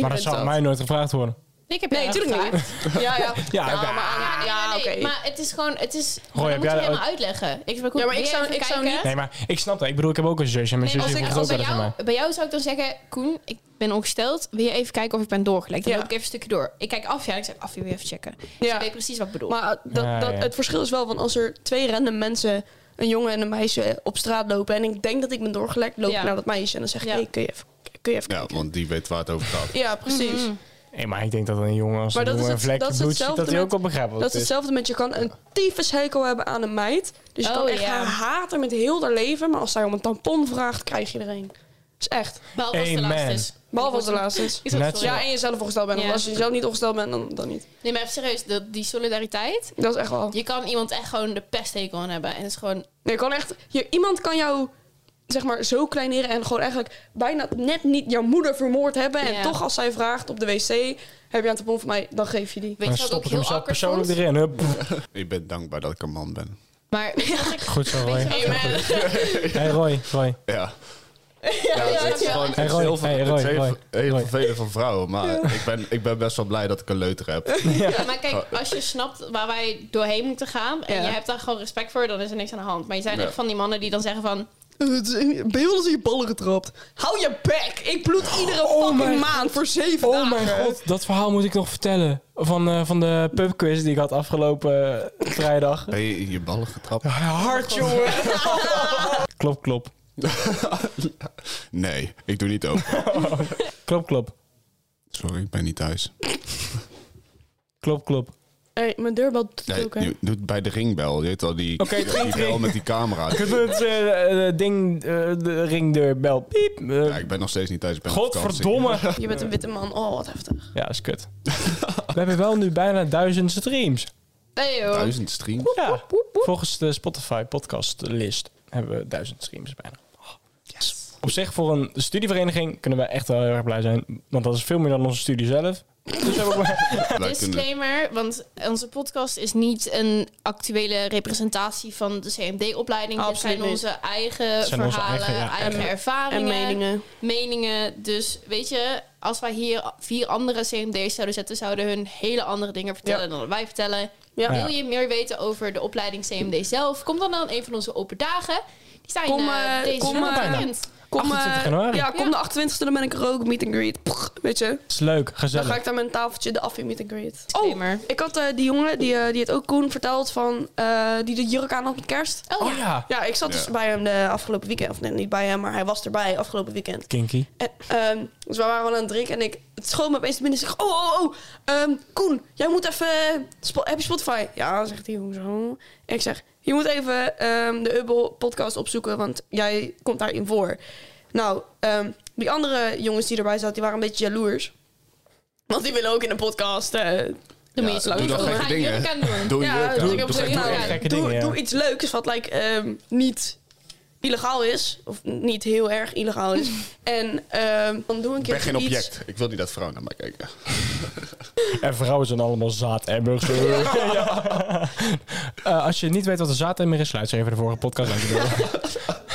Speaker 1: Maar dat zou aan mij nooit gevraagd worden.
Speaker 3: ik heb
Speaker 2: Nee,
Speaker 3: jou
Speaker 2: tuurlijk
Speaker 3: gevraagd.
Speaker 2: niet. Ja, ja.
Speaker 1: Ja, ja.
Speaker 2: maar aan-
Speaker 3: Ah, Ja,
Speaker 2: ja,
Speaker 3: nee,
Speaker 2: oké.
Speaker 3: Maar het is gewoon, het is. maar
Speaker 1: heb
Speaker 3: dat moet
Speaker 1: jij
Speaker 3: je
Speaker 1: dat
Speaker 3: helemaal uitleggen. Ik, ben goed,
Speaker 2: Ja, maar ik
Speaker 3: wil
Speaker 2: zou-
Speaker 3: je even
Speaker 2: ik zou
Speaker 3: kijken?
Speaker 2: niet-
Speaker 1: Nee, maar ik snap dat. Ik bedoel, ik heb ook een zusje. En mijn
Speaker 3: Nee,
Speaker 1: zusje
Speaker 3: als ik-
Speaker 1: vroeg het
Speaker 3: als
Speaker 1: ook wel
Speaker 3: bij,
Speaker 1: eens aan mij.
Speaker 3: jou, bij jou zou ik dan zeggen, Koen, ik ben ongesteld. Wil je even kijken of ik ben doorgelekt? Dan
Speaker 2: Ja.
Speaker 3: loop ik even een stukje door. Ik kijk af, ja, ik zeg af, wil je even checken? Dus
Speaker 2: Ja.
Speaker 3: ik weet precies wat ik bedoel.
Speaker 2: Maar dat,
Speaker 1: Ja,
Speaker 2: dat,
Speaker 1: ja.
Speaker 2: het verschil is wel, want als er twee random mensen, een jongen en een meisje, eh, op straat lopen en ik denk dat ik ben doorgelekt, loop
Speaker 3: Ja.
Speaker 2: ik naar dat meisje en dan zeg ik,
Speaker 3: Ja.
Speaker 2: hey, kun je even, kun je even
Speaker 4: Ja,
Speaker 2: kijken?
Speaker 4: want die weet waar het over gaat.
Speaker 2: Ja, precies.
Speaker 3: Mhm.
Speaker 1: Nee, maar ik denk dat een jongen als
Speaker 2: Maar
Speaker 1: een
Speaker 2: dat is
Speaker 1: jongen een
Speaker 2: het- dat
Speaker 1: vlekje
Speaker 2: is
Speaker 1: bloed ziet,
Speaker 2: hetzelfde
Speaker 1: dat hij ook
Speaker 2: met-
Speaker 1: wel begrijpt wat
Speaker 2: Dat
Speaker 1: het
Speaker 2: is
Speaker 1: is.
Speaker 2: hetzelfde met, je kan een tyfushekel hebben aan een meid, dus je
Speaker 3: Oh,
Speaker 2: kan echt
Speaker 3: ja.
Speaker 2: haar haten met heel haar leven, maar als zij om een tampon vraagt, krijg je er een. Dus echt.
Speaker 3: Behalve als het de
Speaker 1: Amen.
Speaker 3: laatste is.
Speaker 2: Behalve als de laatste is.
Speaker 3: Is dat
Speaker 1: Net
Speaker 3: zo?
Speaker 2: Ja, en jezelf ongesteld bent. Want
Speaker 3: Ja.
Speaker 2: als je zelf niet ongesteld bent, dan, dan niet.
Speaker 3: Nee, maar even serieus, dat, die solidariteit.
Speaker 2: Dat is echt wel...
Speaker 3: Je kan iemand echt gewoon de pesthekel aan hebben. En het is gewoon...
Speaker 2: Nee, je kan echt, je, iemand kan jou zeg maar zo kleineren en gewoon eigenlijk bijna net niet jouw moeder vermoord hebben. En
Speaker 3: Ja. toch
Speaker 2: toch als zij vraagt op de wc, heb je een tampon van mij, dan geef je die.
Speaker 3: Weet
Speaker 1: Dan
Speaker 3: je wat ik
Speaker 1: stop
Speaker 3: ook
Speaker 1: ik
Speaker 3: heel
Speaker 1: hem zelf
Speaker 3: awkward vond?
Speaker 1: persoonlijk erin. Hup.
Speaker 4: Ik ben dankbaar dat ik een man ben.
Speaker 3: Maar weet je wat ik...
Speaker 1: Goed zo,
Speaker 3: Weet
Speaker 1: Roy.
Speaker 3: je wat ik-
Speaker 1: Hey Roy, Roy.
Speaker 4: Ja. Ja, het is gewoon
Speaker 1: Hey,
Speaker 4: het is
Speaker 1: Roy.
Speaker 4: heel ver-
Speaker 1: Hey,
Speaker 4: het
Speaker 1: Roy.
Speaker 4: is heel
Speaker 1: Roy.
Speaker 4: ver- heel
Speaker 1: Roy.
Speaker 4: vervelend van vrouwen, maar ik, ben, ik ben best wel blij dat ik een leuter heb.
Speaker 3: Ja, maar
Speaker 4: Oh.
Speaker 3: kijk, als je snapt waar wij doorheen moeten gaan... en
Speaker 2: Ja.
Speaker 3: je hebt daar gewoon respect voor, dan is er niks aan de hand. Maar je zijn
Speaker 4: Ja.
Speaker 3: echt van die mannen die dan zeggen van...
Speaker 2: Ben je wel eens in je ballen getrapt? Hou je bek! Ik bloed iedere fucking maand voor zeven
Speaker 1: Oh mijn god, dat verhaal moet ik nog vertellen. Van, eh, van de pubquiz die ik had afgelopen eh, vrijdag.
Speaker 4: Ben je in je ballen getrapt?
Speaker 3: Oh,
Speaker 1: Hard, jongen. klop, klop.
Speaker 4: Nee, ik doe niet open.
Speaker 1: Klop, klop.
Speaker 4: Sorry, ik ben niet thuis.
Speaker 1: Klop, klop.
Speaker 2: Hey, mijn deurbel doet het
Speaker 4: Nee,
Speaker 2: ook, hè?
Speaker 4: je doet bij de ringbel. Je weet al die,
Speaker 1: Oké,
Speaker 4: die
Speaker 1: ring,
Speaker 4: bel
Speaker 1: ring.
Speaker 4: met die camera.
Speaker 1: Kunnen we het eh, eh, ding, eh, de ringdeurbel, piep. eh,
Speaker 4: Ja, ik ben nog steeds niet thuis. Ik ben op
Speaker 1: Godverdomme.
Speaker 2: Je bent een witte man. Oh, wat heftig.
Speaker 1: Ja, dat is kut. We hebben wel nu bijna duizend streams.
Speaker 3: Hey,
Speaker 4: vakantie.
Speaker 3: joh.
Speaker 4: Duizend streams.
Speaker 1: Ja, volgens de Spotify podcast list hebben we duizend streams bijna. Op zich, voor een studievereniging kunnen wij echt wel heel erg blij zijn. Want dat is veel meer dan onze studie zelf. Dus hebben we-
Speaker 4: Wij kunnen-
Speaker 3: Disclaimer, want onze podcast is niet een actuele representatie van de CMD-opleiding. Dit
Speaker 2: Absoluut
Speaker 3: zijn onze eigen
Speaker 1: Het zijn onze
Speaker 3: verhalen, eigen,
Speaker 1: eigen, ja, eigen-
Speaker 2: En
Speaker 3: ervaringen, meningen.
Speaker 2: meningen.
Speaker 3: Dus weet je, als wij hier vier andere CMD's zouden zetten, zouden hun hele andere dingen vertellen dan wat wij vertellen.
Speaker 2: Ja.
Speaker 1: Nou Ja.
Speaker 3: Wil je meer weten over de opleiding CMD zelf? Kom dan aan een van onze open dagen. Die zijn
Speaker 2: Kom,
Speaker 3: eh,
Speaker 2: eh,
Speaker 3: deze
Speaker 2: kom,
Speaker 3: week
Speaker 2: eh,
Speaker 3: gepland.
Speaker 2: Kom,
Speaker 1: 28
Speaker 2: eh,
Speaker 1: januari.
Speaker 2: ja, kom de 28e, dan ben ik er ook. Meet and greet. Pff, weet je?
Speaker 1: Het is leuk,
Speaker 2: Dan ga
Speaker 1: gezellig.
Speaker 2: ik daar met een tafeltje de affie meet and greet.
Speaker 3: Oh, Disclaimer.
Speaker 2: ik had eh, die jongen, die, eh, die het ook Koen verteld, van, eh, die de jurk aan had met kerst.
Speaker 3: Oh,
Speaker 1: Oh
Speaker 3: ja.
Speaker 1: ja,
Speaker 2: Ja, ik zat dus
Speaker 4: Ja.
Speaker 2: bij hem de afgelopen weekend. Of nee, niet bij hem, maar hij was erbij afgelopen weekend.
Speaker 1: kinky.
Speaker 2: En, ehm, dus we waren wel aan het drinken en ik, het schoot me opeens binnen. Ik zeg, oh, oh, oh, ehm, Koen, jij moet even, eh, Spo- heb je Spotify? Ja, zegt hij, hoezo? En ik zeg, je moet even ehm, de Ubble podcast opzoeken, want jij komt daarin voor. Nou, ehm, die andere jongens die erbij zaten, die waren een beetje jaloers. Want die willen ook in een podcast. eh,
Speaker 3: Dan moet je
Speaker 4: Ja,
Speaker 3: iets
Speaker 4: doe
Speaker 3: leuks
Speaker 4: dan
Speaker 3: doen.
Speaker 4: gekke
Speaker 3: Ga je
Speaker 4: dingen.
Speaker 3: jurk aan doen.
Speaker 4: Doe
Speaker 2: Ja,
Speaker 4: je
Speaker 2: dus
Speaker 4: doe,
Speaker 2: ik heb
Speaker 4: doe
Speaker 2: gezegd,
Speaker 4: gekke
Speaker 2: nou,
Speaker 4: dingen.
Speaker 1: gekke
Speaker 2: doe,
Speaker 1: dingen, ja.
Speaker 2: doe iets leuks wat like, ehm, niet illegaal is. Of niet heel erg illegaal is. en ehm, dan doe een
Speaker 4: Ik
Speaker 2: keer
Speaker 4: ben geen
Speaker 2: iets-
Speaker 4: object. Ik wil niet dat vrouwen naar mij kijken.
Speaker 1: En vrouwen zijn allemaal zaademmers. ja. Eh, als je niet weet wat een zaademmer is, sluit ze even de vorige podcast aan.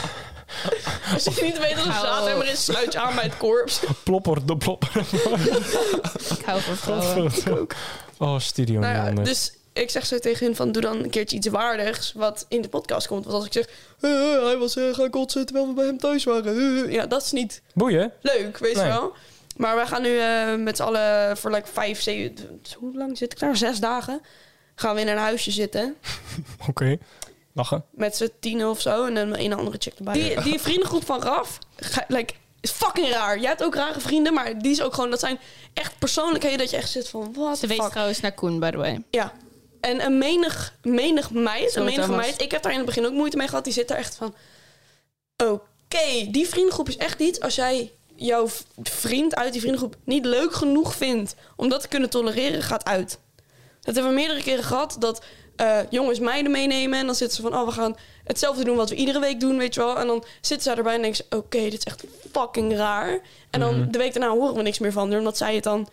Speaker 2: Als je niet weet dat het
Speaker 3: Oh.
Speaker 2: zaadhemmer is, sluit je aan bij het korps.
Speaker 4: Oh,
Speaker 1: Plopper, de plopper.
Speaker 3: Ik hou van vrouwen.
Speaker 1: Oh, studio.
Speaker 2: nou ja,
Speaker 1: Nederlander.
Speaker 2: dus ik zeg zo tegen hun van, doe dan een keertje iets waardigs wat in de podcast komt. Want als ik zeg, "Eh, hij was eh, gaan kotsen terwijl we bij hem thuis waren. eh, ja, dat is niet
Speaker 1: Boeien.
Speaker 2: leuk, weet
Speaker 1: Nee.
Speaker 2: je wel. Maar wij gaan nu eh, met z'n allen voor like vijf, zeven, hoe lang zit ik daar? Zes dagen. Gaan we in een huisje zitten.
Speaker 1: Oké. Lachen.
Speaker 2: Met z'n tienen of zo. En dan een andere chick erbij. Die, die vriendengroep van Raf. ga- like, is fucking raar. Jij hebt ook rare vrienden. Maar die is ook gewoon. Dat zijn echt persoonlijkheden. Dat je echt zit van. Wat
Speaker 3: Ze
Speaker 2: de
Speaker 3: wees
Speaker 2: fuck.
Speaker 3: trouwens naar Koen, by the way.
Speaker 2: Ja. En een menig, menig meid.
Speaker 3: Zo,
Speaker 2: Een menige
Speaker 3: Thomas.
Speaker 2: meid. Ik heb daar in het begin ook moeite mee gehad. Die zit daar echt van. Oké. die vriendengroep is echt niet. Als jij jouw v- vriend uit die vriendengroep niet leuk genoeg vindt. om dat te kunnen tolereren, gaat uit. Dat hebben we meerdere keren gehad. Dat eh, jongens meiden meenemen. En dan zitten ze van, oh, we gaan hetzelfde doen wat we iedere week doen, weet je wel. En dan zitten ze erbij en denken ze, oké, dit is echt fucking raar. En dan de week daarna horen we niks meer van haar. Omdat zij het dan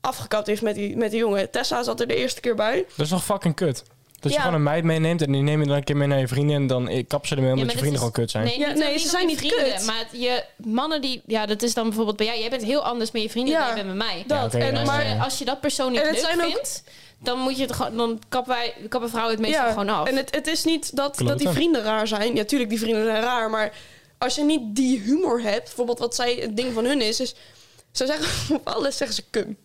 Speaker 2: afgekapt heeft met die, met die jongen. Tessa zat er de eerste keer bij.
Speaker 1: Dat is nog fucking kut. Dat je
Speaker 2: Ja.
Speaker 1: gewoon een meid meeneemt en die neem je dan een keer mee naar je vrienden en dan eh, kap ze ermee omdat
Speaker 3: Ja,
Speaker 1: je
Speaker 3: maar
Speaker 1: vrienden gewoon
Speaker 3: dat
Speaker 1: kut
Speaker 3: is-
Speaker 1: zijn.
Speaker 2: Ja,
Speaker 3: niet-
Speaker 2: nee, ze
Speaker 3: op
Speaker 2: zijn
Speaker 3: je
Speaker 2: niet
Speaker 3: vrienden,
Speaker 2: kut.
Speaker 3: Maar het- je mannen die... Ja, dat is dan bijvoorbeeld bij jou. Jij bent heel anders met je vrienden
Speaker 2: Ja,
Speaker 3: dan jij bent met mij.
Speaker 1: Ja, oké,
Speaker 2: en-
Speaker 1: ja,
Speaker 3: en als,
Speaker 1: ja,
Speaker 2: maar-
Speaker 1: ja.
Speaker 3: je, als je dat persoon niet
Speaker 2: En het
Speaker 3: leuk
Speaker 2: zijn ook-
Speaker 3: vindt... Dan moet je het gewoon... Dan kappen wij, kappen vrouwen het meestal gewoon af.
Speaker 2: En het, het is niet dat, dat die
Speaker 1: Kloten.
Speaker 2: vrienden raar zijn. Ja, tuurlijk, die vrienden zijn raar. Maar als je niet die humor hebt, bijvoorbeeld wat zij, het ding van hun is, is ze zeggen op alles zeggen ze cum.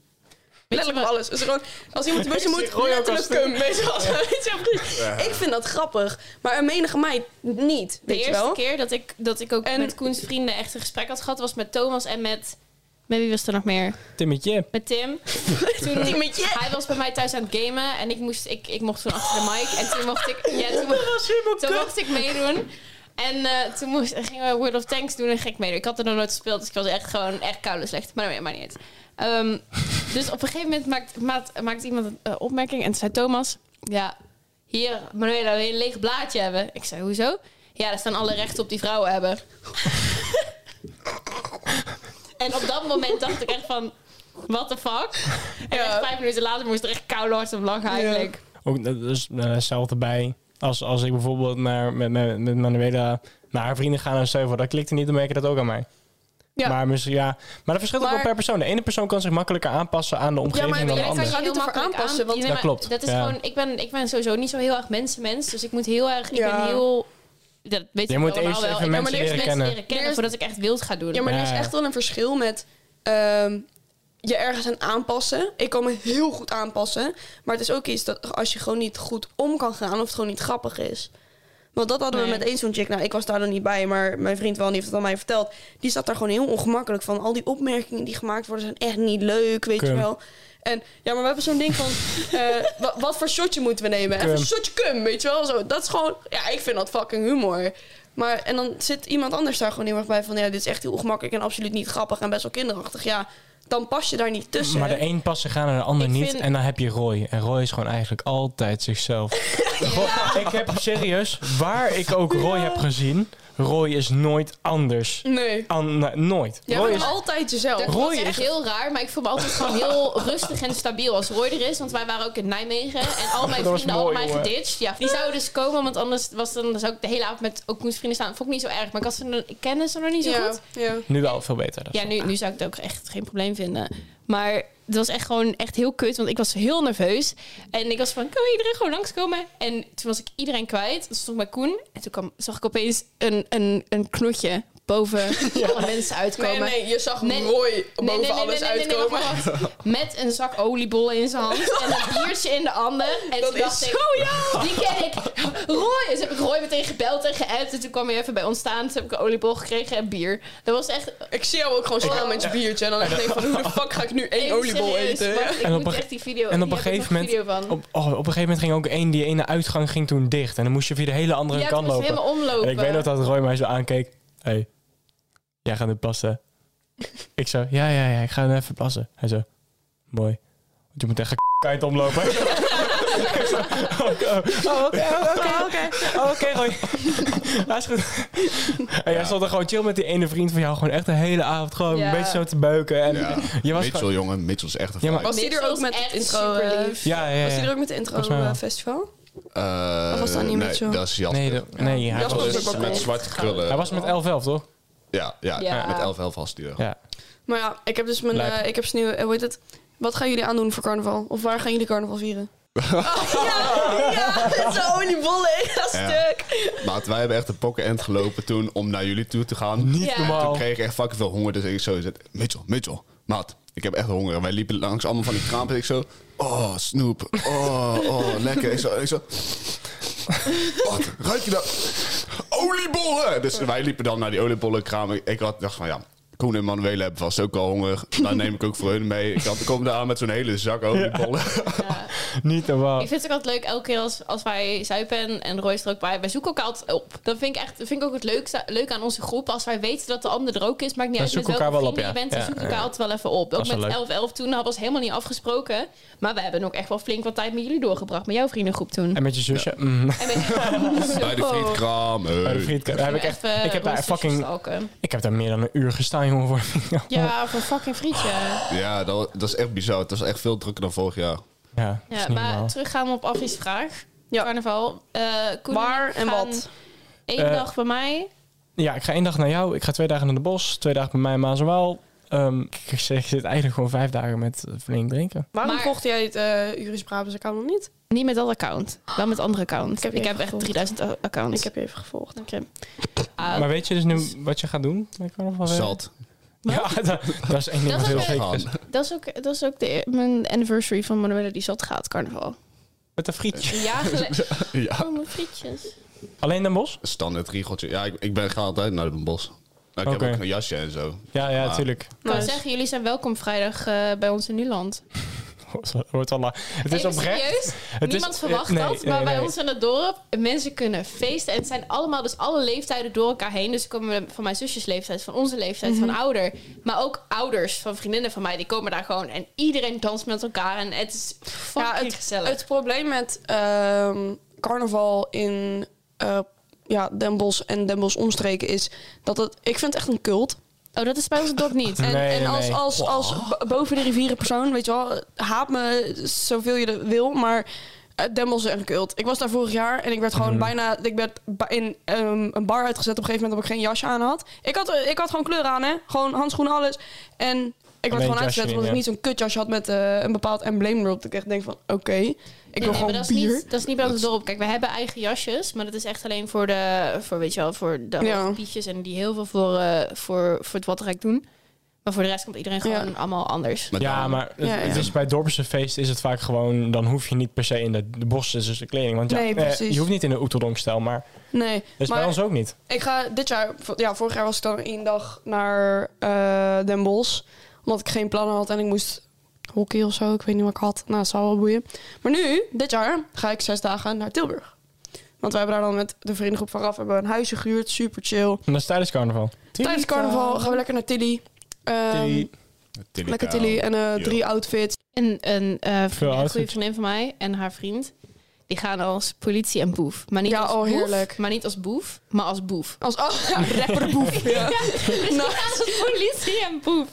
Speaker 2: Letterlijk
Speaker 3: wat-
Speaker 2: op alles. Dus gewoon, als iemand de bus in moet,
Speaker 1: Ik gooi ook
Speaker 2: letterlijk
Speaker 1: als-
Speaker 2: cum. Weet je wel? Weet je wel, precies. Ik vind dat grappig. Maar een menige meid niet,
Speaker 3: De
Speaker 2: weet je
Speaker 3: eerste
Speaker 2: wel?
Speaker 3: keer dat ik, dat ik ook
Speaker 2: En-
Speaker 3: met Koens vrienden echt een gesprek had gehad... was met Thomas en met... Met wie was er nog meer?
Speaker 1: Timmetje.
Speaker 3: Met Tim. Toen,
Speaker 2: Die met je.
Speaker 3: Hij was bij mij thuis aan het gamen en ik, moest, ik, ik mocht toen achter de mic. En toen mocht ik, ja, toen, mocht- toen mocht ik meedoen. En eh, toen moest, gingen we World of Tanks doen en ging ik meedoen. Ik had er nog nooit gespeeld, dus ik was echt gewoon echt koude slecht. Maar nee, maar niet. uit. Ehm, dus op een gegeven moment maakt, maakt, maakt iemand een eh, opmerking en toen zei Thomas... Ja, hier, Manuela, wil je een leeg blaadje hebben? Ik zei, hoezo? Ja, daar staan alle rechten op die vrouwen hebben. en op dat moment dacht ik echt van... What the fuck? En
Speaker 2: Ja.
Speaker 3: echt vijf minuten later moest er echt koude hard om lachen eigenlijk.
Speaker 1: Ook dat is eh, hetzelfde bij als, als ik bijvoorbeeld naar, met, met, met Manuela naar haar vrienden ga en stel je voor, dat klikt er niet, dan merk je dat ook aan mij.
Speaker 2: Ja.
Speaker 1: Maar, misschien, ja. maar dat verschilt ook
Speaker 2: Maar-
Speaker 1: wel per persoon. De ene persoon kan zich makkelijker aanpassen aan de omgeving
Speaker 2: maar
Speaker 1: dan de
Speaker 2: ik
Speaker 1: ander.
Speaker 2: je heel makkelijk aan-
Speaker 3: want
Speaker 2: Ja,
Speaker 3: maar
Speaker 1: klopt.
Speaker 3: Dat is
Speaker 1: Ja.
Speaker 3: gewoon, ik ben, ik ben sowieso niet zo heel erg mensenmens, dus ik moet heel erg, ik
Speaker 2: Ja.
Speaker 3: ben heel, dat weet
Speaker 1: Je
Speaker 3: ik
Speaker 1: moet
Speaker 3: allemaal
Speaker 1: eerst
Speaker 3: wel.
Speaker 1: even
Speaker 3: ik ben
Speaker 1: mensen
Speaker 3: eerst
Speaker 1: leren
Speaker 3: mensen
Speaker 1: kennen.
Speaker 3: leren kennen
Speaker 2: Eerst-
Speaker 3: voordat ik echt wild ga doen.
Speaker 2: Ja, maar er is
Speaker 1: Ja.
Speaker 2: echt wel een verschil met ehm, je ergens aan aanpassen. Ik kan me heel goed aanpassen. Maar het is ook iets dat als je gewoon niet goed om kan gaan of het gewoon niet grappig is. Want dat hadden we
Speaker 3: Nee.
Speaker 2: met één zo'n chick. Nou, ik was daar dan niet bij, maar mijn vriend wel, en die heeft het aan mij verteld. Die zat daar gewoon heel ongemakkelijk van. Al die opmerkingen die gemaakt worden zijn echt niet leuk, weet
Speaker 1: Cum.
Speaker 2: je wel. En ja, maar we hebben zo'n ding van, eh, wa- wat voor shotje moeten we nemen? Even een
Speaker 1: Cum.
Speaker 2: shotje cum, weet je wel? Zo, dat is gewoon, ja, ik vind dat fucking humor. Maar, en dan zit iemand anders daar gewoon heel erg bij van, ja, dit is echt heel ongemakkelijk en absoluut niet grappig en best wel kinderachtig. Ja, dan pas je daar niet tussen.
Speaker 1: Maar de een passen gaan en de ander
Speaker 3: Ik
Speaker 1: niet.
Speaker 3: vind-
Speaker 1: En dan heb je Roy. En Roy is gewoon eigenlijk altijd zichzelf. Goh, ik heb serieus, waar ik ook Roy heb gezien, Roy is nooit anders.
Speaker 2: Nee.
Speaker 1: An- nou, nooit.
Speaker 2: Jij
Speaker 1: Roy
Speaker 2: bent
Speaker 1: is
Speaker 2: altijd jezelf.
Speaker 3: Dat
Speaker 1: Roy
Speaker 3: was echt
Speaker 1: is-
Speaker 3: heel raar, maar ik voel me altijd gewoon heel rustig en stabiel als Roy er is. Want wij waren ook in Nijmegen en al mijn
Speaker 1: Dat was
Speaker 3: vrienden hadden
Speaker 1: mooi,
Speaker 3: mij
Speaker 1: jongen.
Speaker 3: geditcht. Ja, die zouden dus komen, want anders was dan, zou ik de hele avond met ook moest vrienden staan. Vond ik niet zo erg, maar ik, had ze, nog- ik kende ze nog niet zo
Speaker 2: ja,
Speaker 3: goed.
Speaker 2: Ja.
Speaker 1: nu wel veel beter. dus.
Speaker 3: Ja, nu, nu zou ik het ook echt geen probleem vinden. Maar het was echt gewoon echt heel kut, want ik was heel nerveus. En ik was van, kan iedereen gewoon langskomen? En toen was ik iedereen kwijt. Toen stond ik bij Koen en toen kwam, zag ik opeens een, een, een knotje boven alle mensen uitkomen.
Speaker 2: Nee, nee, je zag
Speaker 3: Nee.
Speaker 2: Roy
Speaker 3: Nee,
Speaker 2: boven
Speaker 3: nee, nee,
Speaker 2: alles
Speaker 3: nee, nee, nee,
Speaker 2: uitkomen.
Speaker 3: wacht, wacht. Met een zak oliebollen in zijn hand en een biertje in de ander. En
Speaker 2: Dat
Speaker 3: toen dacht
Speaker 2: is
Speaker 3: ik, die ken ik. Roy. Dus heb ik Roy meteen gebeld en geappt. En toen kwam hij even bij ons staan. Toen heb ik een oliebol gekregen en bier. Dat was echt...
Speaker 2: Ik zie jou ook gewoon slaan met je biertje. En dan echt denk van, hoe de fuck ga ik nu één
Speaker 3: Nee,
Speaker 2: oliebol
Speaker 3: serieus,
Speaker 2: eten?
Speaker 3: want
Speaker 2: Ja.
Speaker 3: Ik
Speaker 1: En op
Speaker 3: moet
Speaker 1: een-
Speaker 3: echt die
Speaker 1: en
Speaker 3: video...
Speaker 1: op
Speaker 3: hier
Speaker 1: een
Speaker 3: heb ik nog
Speaker 1: gegeven moment-
Speaker 3: video van.
Speaker 1: Op, oh, op een gegeven moment ging ook één, die ene uitgang ging toen dicht. En dan moest je via de hele andere
Speaker 3: ja, toen
Speaker 1: kant
Speaker 3: moest ik
Speaker 1: lopen.
Speaker 3: helemaal omlopen.
Speaker 1: En ik weet nog dat Roy mij zo aankeek. Hé, hey, jij gaat nu plassen. ik zo, ja, ja, ja, ik ga nu even plassen. Hij zo, mooi. Want je moet echt een kite omlopen. Ik zo, oh, oh, Oké, oké, oké. Oh, Oké, Roy. Ja, is goed. En jij stond er gewoon chill met die ene vriend van jou. Gewoon echt de hele avond gewoon
Speaker 3: Ja.
Speaker 1: een beetje zo te beuken. En
Speaker 4: Ja.
Speaker 1: je was
Speaker 4: Mitchell,
Speaker 1: gewoon...
Speaker 4: jongen. Mitchell is echt een
Speaker 1: Ja, maar-
Speaker 4: vibe.
Speaker 2: Was die er
Speaker 3: Mitchell
Speaker 2: ook
Speaker 3: is
Speaker 2: met het
Speaker 3: echt
Speaker 2: intro? eh,
Speaker 3: superlief.
Speaker 1: Ja, ja, ja.
Speaker 2: Was die er ook met het intro
Speaker 1: Volgens mij wel.
Speaker 2: eh, festival?
Speaker 4: Eh,
Speaker 2: Of was dat niet
Speaker 4: nee,
Speaker 2: Mitchell?
Speaker 4: dat is Jasper.
Speaker 1: Nee, de- nee hij,
Speaker 2: Jasper
Speaker 1: was,
Speaker 2: was ook
Speaker 4: Dus
Speaker 2: wel
Speaker 4: met
Speaker 2: cool.
Speaker 4: zwarte krullen.
Speaker 1: hij was met 11-11, toch?
Speaker 4: Ja, ja,
Speaker 3: Ja.
Speaker 4: met 11 11 was die er.
Speaker 1: Ja.
Speaker 2: Maar ja, ik heb dus mijn...
Speaker 1: Lijp.
Speaker 2: eh, ik heb dus nu... eh, hoe heet het? Wat gaan jullie aandoen voor carnaval? Of waar gaan jullie carnaval vieren? ja, ja, zo oliebollen. Ja, stuk.
Speaker 4: Maat, wij hebben echt een pokken end gelopen toen om naar jullie toe te gaan.
Speaker 1: Niet
Speaker 3: Ja.
Speaker 4: Toen
Speaker 1: normaal.
Speaker 4: kreeg ik echt fucking veel honger, dus ik zo zet, Mitchell, Mitchell, maat, ik heb echt honger. En wij liepen langs allemaal van die kraampjes en ik zo, oh, snoep, oh, oh, lekker. Ik zo, ik zo, wat, ruik je dat? Oliebollen! Dus wij liepen dan naar die oliebollenkraam. Ik- Ik had dacht van, ja, Koen en Manuele hebben vast ook al honger. Dan neem ik ook voor hun mee. Ik had, ik kom daar aan met zo'n hele zak oliebollen.
Speaker 3: Ja.
Speaker 1: Niet normaal.
Speaker 3: Ik vind het ook altijd leuk, elke keer als, als wij zuipen en Roy is er ook bij, wij zoeken elkaar altijd op. Dat vind ik echt dat vind ik ook het leukste, leuk aan onze groep. Als wij weten dat de ander er ook is, maakt niet
Speaker 1: Dan
Speaker 3: uit met
Speaker 1: zoeken
Speaker 3: welke
Speaker 1: elkaar wel
Speaker 3: vrienden
Speaker 1: op,
Speaker 3: je
Speaker 1: ja.
Speaker 3: bent, dan
Speaker 1: Ja,
Speaker 3: zoeken
Speaker 1: ja,
Speaker 3: we elkaar altijd wel even op. Ook
Speaker 1: Dat is wel leuk.
Speaker 3: met 11-11 toen, dat was helemaal niet afgesproken. Maar we hebben ook echt wel flink wat tijd met jullie doorgebracht, met jouw vriendengroep toen.
Speaker 1: En met je zusje. mm.
Speaker 3: En met-
Speaker 4: Bij de
Speaker 3: Zo.
Speaker 4: frietkraam. hey.
Speaker 1: Bij de frietkar. Daar heb ik, echt,
Speaker 3: Even
Speaker 1: ik heb daar
Speaker 3: onze zusjes
Speaker 1: fucking
Speaker 3: stalken.
Speaker 1: Ik heb daar meer dan een uur gestaan, jongen. Voor
Speaker 3: Ja, voor fucking frietje.
Speaker 4: Ja, dat, dat is echt bizar. Het was echt veel drukker dan vorig jaar.
Speaker 1: ja, dat is
Speaker 3: Ja,
Speaker 1: niet
Speaker 3: maar
Speaker 1: normaal.
Speaker 3: terug gaan we op Affie's vraag.
Speaker 2: Ja.
Speaker 3: Carnaval. eh,
Speaker 2: Waar en wat?
Speaker 3: Eén
Speaker 1: Eh,
Speaker 3: dag bij mij.
Speaker 1: Ja, ik ga één dag naar jou. Ik ga twee dagen naar de bos. Twee dagen bij mij in Maaswaal. Ehm ik, zeg, ik zit eigenlijk gewoon vijf dagen met eh, flink drinken.
Speaker 2: Waarom
Speaker 3: Maar-
Speaker 2: volgde jij het eh Juris Brabus account nog niet?
Speaker 3: Niet met dat account. Wel met andere account. Ik
Speaker 2: heb
Speaker 3: heb,
Speaker 2: je even
Speaker 3: echt
Speaker 2: gevolgd.
Speaker 3: 3000 a- accounts.
Speaker 2: Ik heb je even gevolgd.
Speaker 3: Oké. Ah,
Speaker 1: maar weet je dus nu wat je gaat doen? bij carnaval?
Speaker 4: Zat.
Speaker 1: Ja, dat, dat is één ding
Speaker 3: Dat
Speaker 1: wat
Speaker 3: is
Speaker 1: heel zeker
Speaker 3: ook-
Speaker 1: is.
Speaker 3: dat is ook, dat is ook de, mijn anniversary van Manuela die zat gaat, carnaval.
Speaker 1: Met een frietje.
Speaker 3: Een jaar geleden.
Speaker 4: Ja.
Speaker 3: Oh, mijn frietjes.
Speaker 1: Alleen Den Bos?
Speaker 4: Standaard riegeltje. Ja, ik, ik ben, ga altijd naar Den Bos. Nou, ik
Speaker 1: Oké.
Speaker 4: heb ook een jasje en zo.
Speaker 1: Ja, ja,
Speaker 4: Maar-
Speaker 1: natuurlijk.
Speaker 3: Ik kan
Speaker 2: Nice.
Speaker 3: zeggen, jullie zijn welkom vrijdag eh, bij ons in Nuland.
Speaker 1: Wordt al lang. Het is
Speaker 3: Even
Speaker 1: oprecht.
Speaker 3: serieus?
Speaker 1: Het
Speaker 3: Niemand
Speaker 1: is,
Speaker 3: verwacht
Speaker 1: eh, nee,
Speaker 3: dat,
Speaker 1: nee,
Speaker 3: maar bij
Speaker 1: nee.
Speaker 3: ons in het dorp, mensen kunnen feesten. En het zijn allemaal, dus alle leeftijden door elkaar heen. Dus er komen van mijn zusjes leeftijd, van onze leeftijd, van ouder. Maar ook ouders van vriendinnen van mij, die komen daar gewoon. En iedereen danst met elkaar. En het is fucking
Speaker 2: het,
Speaker 3: gezellig.
Speaker 2: Het probleem met ehm, carnaval in eh, ja, Den Bosch en Den Bosch omstreken is dat het... Ik vind het echt een cult.
Speaker 3: oh, dat is bij ons in het dorp niet.
Speaker 2: En,
Speaker 1: Nee,
Speaker 2: en
Speaker 1: nee,
Speaker 2: als,
Speaker 1: nee.
Speaker 2: als, als b- boven de rivieren persoon, weet je wel, haat me zoveel je dat wil, maar eh, Den Bosch is echt een cult. Ik was daar vorig jaar en ik werd
Speaker 1: Mhm.
Speaker 2: gewoon bijna, ik werd ba- in ehm, een bar uitgezet op een gegeven moment omdat ik geen jasje aan had. Ik had, eh, ik had gewoon kleur aan, hè? Gewoon handschoenen, alles. En ik werd
Speaker 1: het
Speaker 2: gewoon
Speaker 1: jasje
Speaker 2: uitgezet
Speaker 1: niet,
Speaker 2: omdat ik
Speaker 1: ja.
Speaker 2: niet zo'n kutjasje had met eh, een bepaald embleem erop. Dat ik echt denk van, oké, ik wil
Speaker 3: Nee,
Speaker 2: gewoon
Speaker 3: maar dat is,
Speaker 2: bier.
Speaker 3: niet, dat is niet bij ons in het dorp. Kijk, we hebben eigen jasjes, maar dat is echt alleen voor de, voor, weet je wel, voor de
Speaker 2: Ja.
Speaker 3: ja. en die heel veel voor, eh, voor, voor het wattenrijk doen. Maar voor de rest komt iedereen gewoon
Speaker 2: Ja.
Speaker 3: allemaal anders.
Speaker 4: Met
Speaker 1: Ja,
Speaker 4: name-
Speaker 1: maar het,
Speaker 2: Ja, ja.
Speaker 1: het is bij dorpse feesten is het vaak gewoon... dan hoef je niet per se in de, de bos, dus de kleding. Want ja,
Speaker 2: Nee,
Speaker 1: eh,
Speaker 2: precies.
Speaker 1: je hoeft niet in de Oeteldonk-stijl, maar
Speaker 2: Nee,
Speaker 1: dat is Dus bij ons ook niet.
Speaker 2: Ik ga dit jaar, v- ja, vorig jaar was ik dan één dag naar eh, Den Bosch. Omdat ik geen plannen had en ik moest hockey of zo. Ik weet niet wat ik had. Nou, het zal wel boeien. Maar nu, dit jaar, ga ik zes dagen naar Tilburg. Want wij hebben daar dan met de vriendengroep van Raf hebben we een huisje gehuurd. Super chill.
Speaker 1: En dat is tijdens carnaval.
Speaker 2: Tijdens carnaval gaan we lekker naar Tilly. Ehm,
Speaker 1: Die-
Speaker 4: Tilly
Speaker 2: lekker
Speaker 4: Kuil.
Speaker 2: Tilly en eh,
Speaker 4: Yo.
Speaker 2: drie outfits.
Speaker 3: En een eh, vriendin-
Speaker 1: outfits.
Speaker 3: goede vriendin van mij en haar vriend, die gaan als politie en boef. Maar niet
Speaker 2: Ja,
Speaker 3: als
Speaker 2: oh,
Speaker 3: boef,
Speaker 2: heerlijk.
Speaker 3: Maar niet als boef, maar als boef.
Speaker 2: Als oh, ja, rapperboef. ja.
Speaker 3: Dus
Speaker 2: Nou.
Speaker 3: die gaan als politie en boef.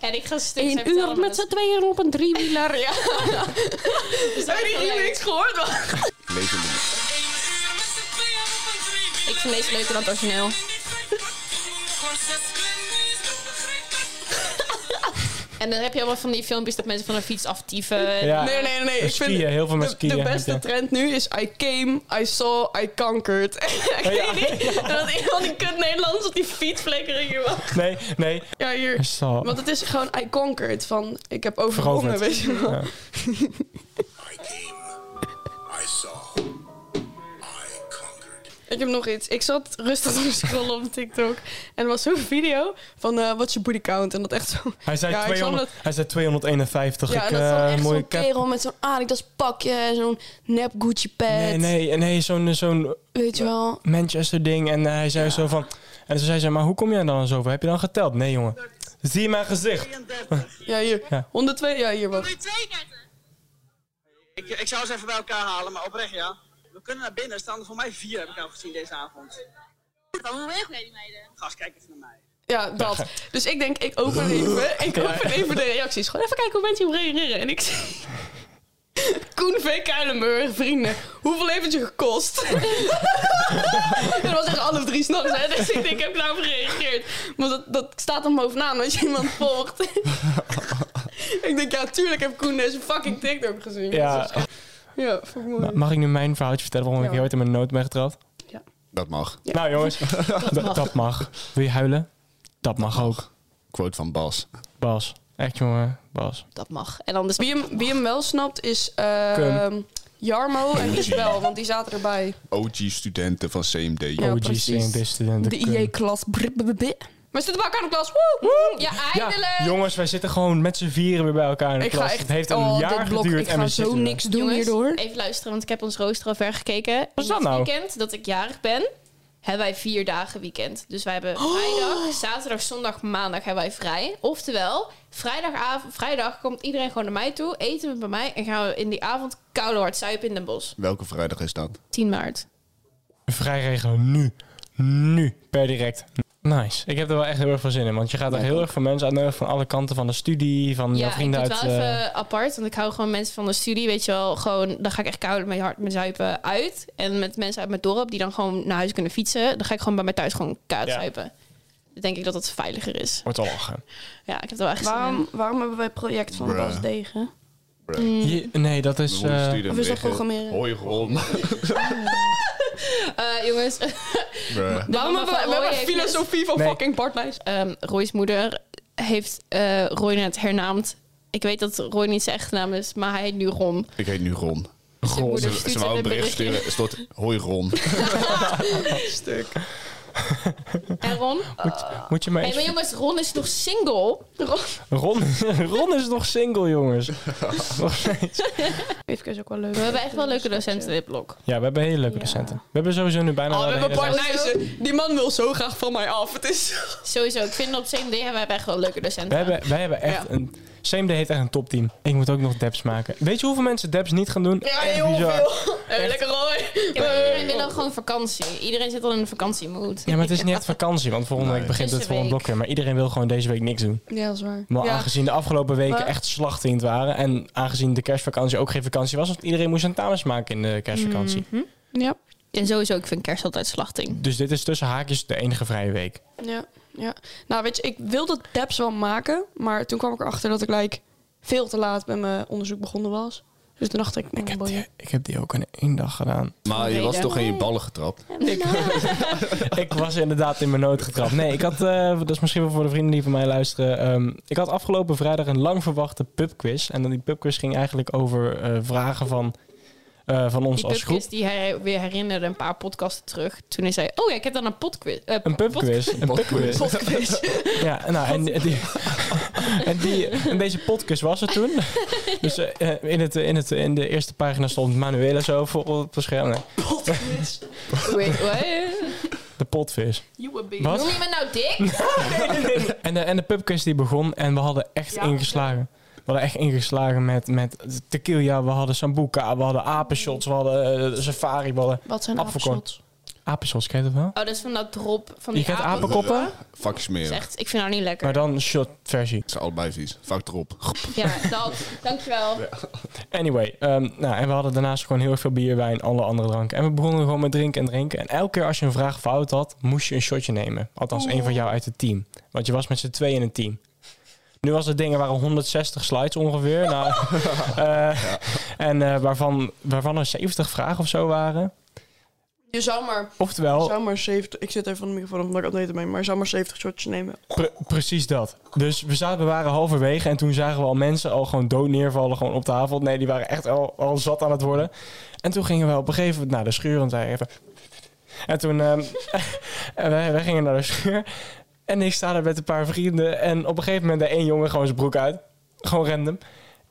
Speaker 3: En ik ga stuk
Speaker 2: Eén uur met z'n tweeën op een driewieler. Ja. Heb je hier niks gehoord? man?
Speaker 4: Lezende muziek.
Speaker 3: Ik vind deze leuker dan het origineel. En dan heb je allemaal van die filmpjes dat mensen van een fiets aftieven.
Speaker 1: Ja.
Speaker 2: Nee, nee, nee. nee. Ik
Speaker 1: Skiën,
Speaker 2: vind
Speaker 1: heel veel mensen
Speaker 2: de,
Speaker 1: skiën.
Speaker 2: de beste trend nu is I came, I saw, I conquered. En
Speaker 1: Ja.
Speaker 2: dat iemand die kut Nederlands op die fietsflikkering. joh.
Speaker 1: Nee, nee.
Speaker 2: Ja, hier.
Speaker 1: Er zal-
Speaker 2: Want het is gewoon I conquered. Van ik heb overwonnen,
Speaker 1: Veroverd.
Speaker 2: weet je wel.
Speaker 1: Ja.
Speaker 5: I came, I saw, I conquered.
Speaker 2: Ik heb nog iets. Ik zat rustig te scrollen op TikTok. En er was zo'n video van eh wat is je booty count? En dat echt zo.
Speaker 1: Hij zei,
Speaker 2: Ja, ik zal
Speaker 1: 200, hij zei 251.
Speaker 2: Ja,
Speaker 1: ik,
Speaker 2: en dat is dan
Speaker 1: eh,
Speaker 2: echt
Speaker 1: mooie
Speaker 2: zo'n
Speaker 1: cap-
Speaker 2: kerel met zo'n Adidas pakje en zo'n nep Gucci pad.
Speaker 1: Nee, nee, en nee, zo'n zo'n
Speaker 2: Weet je wel.
Speaker 1: Manchester ding. En eh, hij zei zo van... En toen zei ze, maar hoe kom jij dan zoveel? Heb je dan geteld? Nee, jongen. Zie je mijn gezicht?
Speaker 2: Ja, hier.
Speaker 1: Ja.
Speaker 2: 102. Ja, hier wacht.
Speaker 6: Ik, ik zou ze even bij elkaar halen, maar oprecht ja. We kunnen naar binnen, staan er voor mij vier, heb ik al gezien deze avond.
Speaker 7: Hoe weeg jij die meiden?
Speaker 6: Gast, kijk even naar mij.
Speaker 2: Ja, dat. Dus ik denk, ik open even, ik open even de reacties. Gewoon even kijken hoe mensen hierop reageren. En ik zie... Koen V. Kuilenburg, vrienden. Hoeveel heeft het je gekost? dat was echt half drie s'nachts, hè. Dus ik denk, ik heb daarop gereageerd. Maar dat, dat staat dan bovenaan als je iemand volgt. ik denk, ja, tuurlijk heb Koen deze fucking TikTok gezien.
Speaker 1: Ja.
Speaker 2: Ja, vond ik mooi.
Speaker 1: Ma- Mag ik nu mijn verhaaltje vertellen waarom ik
Speaker 2: Ja.
Speaker 1: heel hard in mijn nood ben getrapt?
Speaker 4: Dat mag.
Speaker 1: Nou jongens, dat, mag. dat mag. Wil je huilen? Dat mag ook.
Speaker 4: Quote van Bas.
Speaker 1: Bas. Echt jongen, Bas.
Speaker 3: Dat mag. En anders
Speaker 2: Wie hem, wie hem wel snapt is eh,
Speaker 1: Cum.
Speaker 2: Jarmo en Isabel, want die zaten erbij.
Speaker 4: OG-studenten van CMD.
Speaker 2: Ja,
Speaker 1: OG's
Speaker 2: precies.
Speaker 1: in studenten.
Speaker 2: De
Speaker 1: kun-
Speaker 2: IE-klas. We zitten bij elkaar in de klas. Woe, woe.
Speaker 3: Ja,
Speaker 1: Ja,
Speaker 3: eindelijk!
Speaker 1: jongens, wij zitten gewoon met z'n vieren weer bij elkaar in de
Speaker 2: Ik ga
Speaker 1: klas.
Speaker 2: echt-
Speaker 1: het heeft een
Speaker 2: oh,
Speaker 1: jaar
Speaker 2: dit blok,
Speaker 1: geduurd.
Speaker 2: ik
Speaker 1: en
Speaker 2: ga
Speaker 1: we
Speaker 2: zo
Speaker 1: zitten er.
Speaker 2: niks doen
Speaker 3: Jongens,
Speaker 2: hierdoor.
Speaker 3: Even luisteren, want ik heb ons rooster al ver gekeken.
Speaker 1: Wat is dat
Speaker 3: En
Speaker 1: nou?
Speaker 3: Het weekend dat ik jarig ben, hebben wij vier dagen weekend. Dus wij hebben vrijdag, zaterdag, zondag, maandag hebben wij vrij. Oftewel, vrijdagavond, vrijdag komt iedereen gewoon naar mij toe, eten we bij mij en gaan we in die avond koude hard zuipen in Den Bosch.
Speaker 4: Welke vrijdag is dat?
Speaker 3: 10 maart.
Speaker 1: Vrij regelen nu. Nu. Per direct. Nice. Ik heb er wel echt heel erg veel zin in. Want je gaat er heel erg veel mensen uitnodigen van alle kanten van de studie, van jouw
Speaker 3: Ja, ik
Speaker 1: vrienden
Speaker 3: doe
Speaker 1: uit.
Speaker 3: het wel
Speaker 1: eh,
Speaker 3: even apart, want ik hou gewoon mensen van de studie, weet je wel. Gewoon, dan ga ik echt koud mijn hart, mijn zuipen uit. En met mensen uit mijn dorp die dan gewoon naar huis kunnen fietsen, dan ga ik gewoon bij mij thuis gewoon koud
Speaker 1: Ja.
Speaker 3: zuipen. Dan denk ik dat dat veiliger is.
Speaker 1: Wordt al lachen.
Speaker 3: Ja, ik heb het wel echt zin in.
Speaker 2: Waarom, waarom hebben wij project van
Speaker 4: Bruh.
Speaker 2: Bas Degen? Mm.
Speaker 1: Je- nee, dat is. eh,
Speaker 2: Of is dat programmeren?
Speaker 4: Hoi, Ron.
Speaker 3: Eh, jongens,
Speaker 4: Bruh.
Speaker 2: Waarom
Speaker 3: mama
Speaker 2: hebben wij
Speaker 3: van
Speaker 2: we
Speaker 3: Roy
Speaker 2: hebben
Speaker 3: heeft
Speaker 2: filosofie van
Speaker 1: Nee.
Speaker 2: fucking Bartlijs?
Speaker 3: ehm, Roy's moeder heeft eh Roy net hernaamd. Ik weet dat Roy niet zijn echte naam is, maar hij heet nu Ron.
Speaker 4: Ik heet nu Ron.
Speaker 3: Dus zijn moeder
Speaker 4: Ze,
Speaker 3: stuurt
Speaker 4: ze
Speaker 3: hem
Speaker 4: wou een bericht
Speaker 3: berichtje.
Speaker 4: sturen. Er stond, hoi Ron.
Speaker 2: Stuk.
Speaker 3: En Ron?
Speaker 1: moet je maar
Speaker 3: Hé,
Speaker 1: eens.
Speaker 3: maar jongens, Ron is nog single.
Speaker 1: Ron, Ron is nog single, jongens. Nog steeds.
Speaker 2: Even is ook wel leuk.
Speaker 3: We hebben echt wel leuke docenten in dit blok.
Speaker 1: ja, we hebben hele leuke
Speaker 2: Ja.
Speaker 1: docenten. We hebben sowieso nu bijna.
Speaker 2: Oh,
Speaker 1: wel
Speaker 2: we
Speaker 1: de
Speaker 2: hebben
Speaker 1: hele-
Speaker 2: Bartnijzen. Die man wil zo graag van mij af. Het is...
Speaker 3: Sowieso, ik vind op CMD hebben we echt wel leuke
Speaker 1: we
Speaker 3: docenten.
Speaker 1: hebben, wij hebben echt
Speaker 2: Ja.
Speaker 1: een. CMD heeft echt een topteam. Ik moet ook nog dabs maken. Weet je hoeveel mensen dabs niet gaan doen?
Speaker 2: Ja,
Speaker 1: Echt
Speaker 2: heel
Speaker 1: bizar.
Speaker 2: veel. Hey, lekker Roy.
Speaker 3: Ja, maar iedereen wil ook gewoon vakantie. Iedereen zit al in een vakantiemood.
Speaker 1: Ja, maar het is niet echt vakantie, want volgende week begint
Speaker 3: Het
Speaker 1: het
Speaker 3: is een
Speaker 1: volgende blok weer. Maar iedereen wil gewoon deze week niks doen.
Speaker 2: Ja, dat is waar.
Speaker 1: Maar aangezien de afgelopen weken
Speaker 2: Maar-
Speaker 1: echt slachtend waren... en aangezien de kerstvakantie ook geen vakantie was... want iedereen moest tentamens maken in de kerstvakantie.
Speaker 2: Mhm. Ja.
Speaker 3: En sowieso, ik vind kerst altijd slachting.
Speaker 1: Dus dit is tussen haakjes de enige vrije week.
Speaker 2: Ja, ja. Nou, weet je, ik wilde dabs wel maken, maar toen kwam ik erachter dat ik like, veel te laat met mijn onderzoek begonnen was. Dus toen dacht ik, oh,
Speaker 1: Ik heb,
Speaker 2: boeien.
Speaker 1: die, ik heb die ook in één dag gedaan.
Speaker 4: Maar je was toch in je ballen getrapt?
Speaker 1: ik was inderdaad in mijn nood getrapt. Nee, ik had... eh, dat is misschien wel voor de vrienden die van mij luisteren. ehm, ik had afgelopen vrijdag een lang verwachte pubquiz. En dan die pubquiz ging eigenlijk over eh, vragen van, eh, van ons
Speaker 3: Die
Speaker 1: als groep.
Speaker 3: pubquiz die hij weer herinnerde een paar podcasten terug. Toen hij zei, oh ja, ik heb dan een podquiz. eh,
Speaker 1: Een pubquiz. Een pubquiz.
Speaker 2: Potquiz.
Speaker 1: Ja, nou, en die, En, die, en deze podcast was het toen. Dus eh, eh, in, het, eh, in, het, in de eerste pagina stond Manuela zo voor op het scherm. Nee,
Speaker 2: Potvis.
Speaker 3: Wait, what?
Speaker 1: de potvis.
Speaker 2: You a bitch.
Speaker 1: Wat?
Speaker 3: Noem je me nou dik?
Speaker 1: En de, en de pubquiz die begon en we hadden echt ingeslagen. We hadden echt ingeslagen met, met tequila, we hadden sambuca, we hadden apenshots, we hadden eh, safari, we hadden
Speaker 2: Wat zijn
Speaker 1: Apfelkorn.
Speaker 2: appelshots?
Speaker 1: apenshots, ken je dat wel?
Speaker 3: Oh, dat is van dat drop van
Speaker 1: Je
Speaker 3: die
Speaker 1: kent
Speaker 3: apel.
Speaker 1: apenkoppen,
Speaker 4: Fuck
Speaker 3: Dat
Speaker 4: smeren.
Speaker 3: is
Speaker 4: Ze
Speaker 3: echt, ik vind haar niet lekker.
Speaker 1: maar dan shot versie.
Speaker 4: zijn allebei vies. Fuck erop.
Speaker 3: Ja, dat. Dankjewel.
Speaker 1: Anyway, ehm, nou, en we hadden daarnaast gewoon heel erg veel bier, wijn, alle andere dranken. En we begonnen gewoon met drinken en drinken. En elke keer als je een vraag fout had, moest je een shotje nemen. Althans, één van jou uit het team. Want je was met z'n tweeën in een team. Nu was het dingen waren 160 slides ongeveer. Nou, eh, En eh, waarvan, waarvan er 70 vragen of zo waren.
Speaker 2: Je zou maar,
Speaker 1: Oftewel,
Speaker 2: zou maar 70... Ik zit even van de microfoon omdat ik aan het eten ben, maar zou maar 70 shotjes nemen.
Speaker 1: Pre- precies dat. Dus we, zaten, we waren halverwege en toen zagen we al mensen al gewoon dood neervallen gewoon op tafel. Nee, die waren echt al, al zat aan het worden. En toen gingen we op een gegeven moment naar de schuur en zei even... En toen... ehm, en wij, wij gingen naar de schuur. En ik sta daar met een paar vrienden. En op een gegeven moment deed één jongen gewoon zijn broek uit. Gewoon random.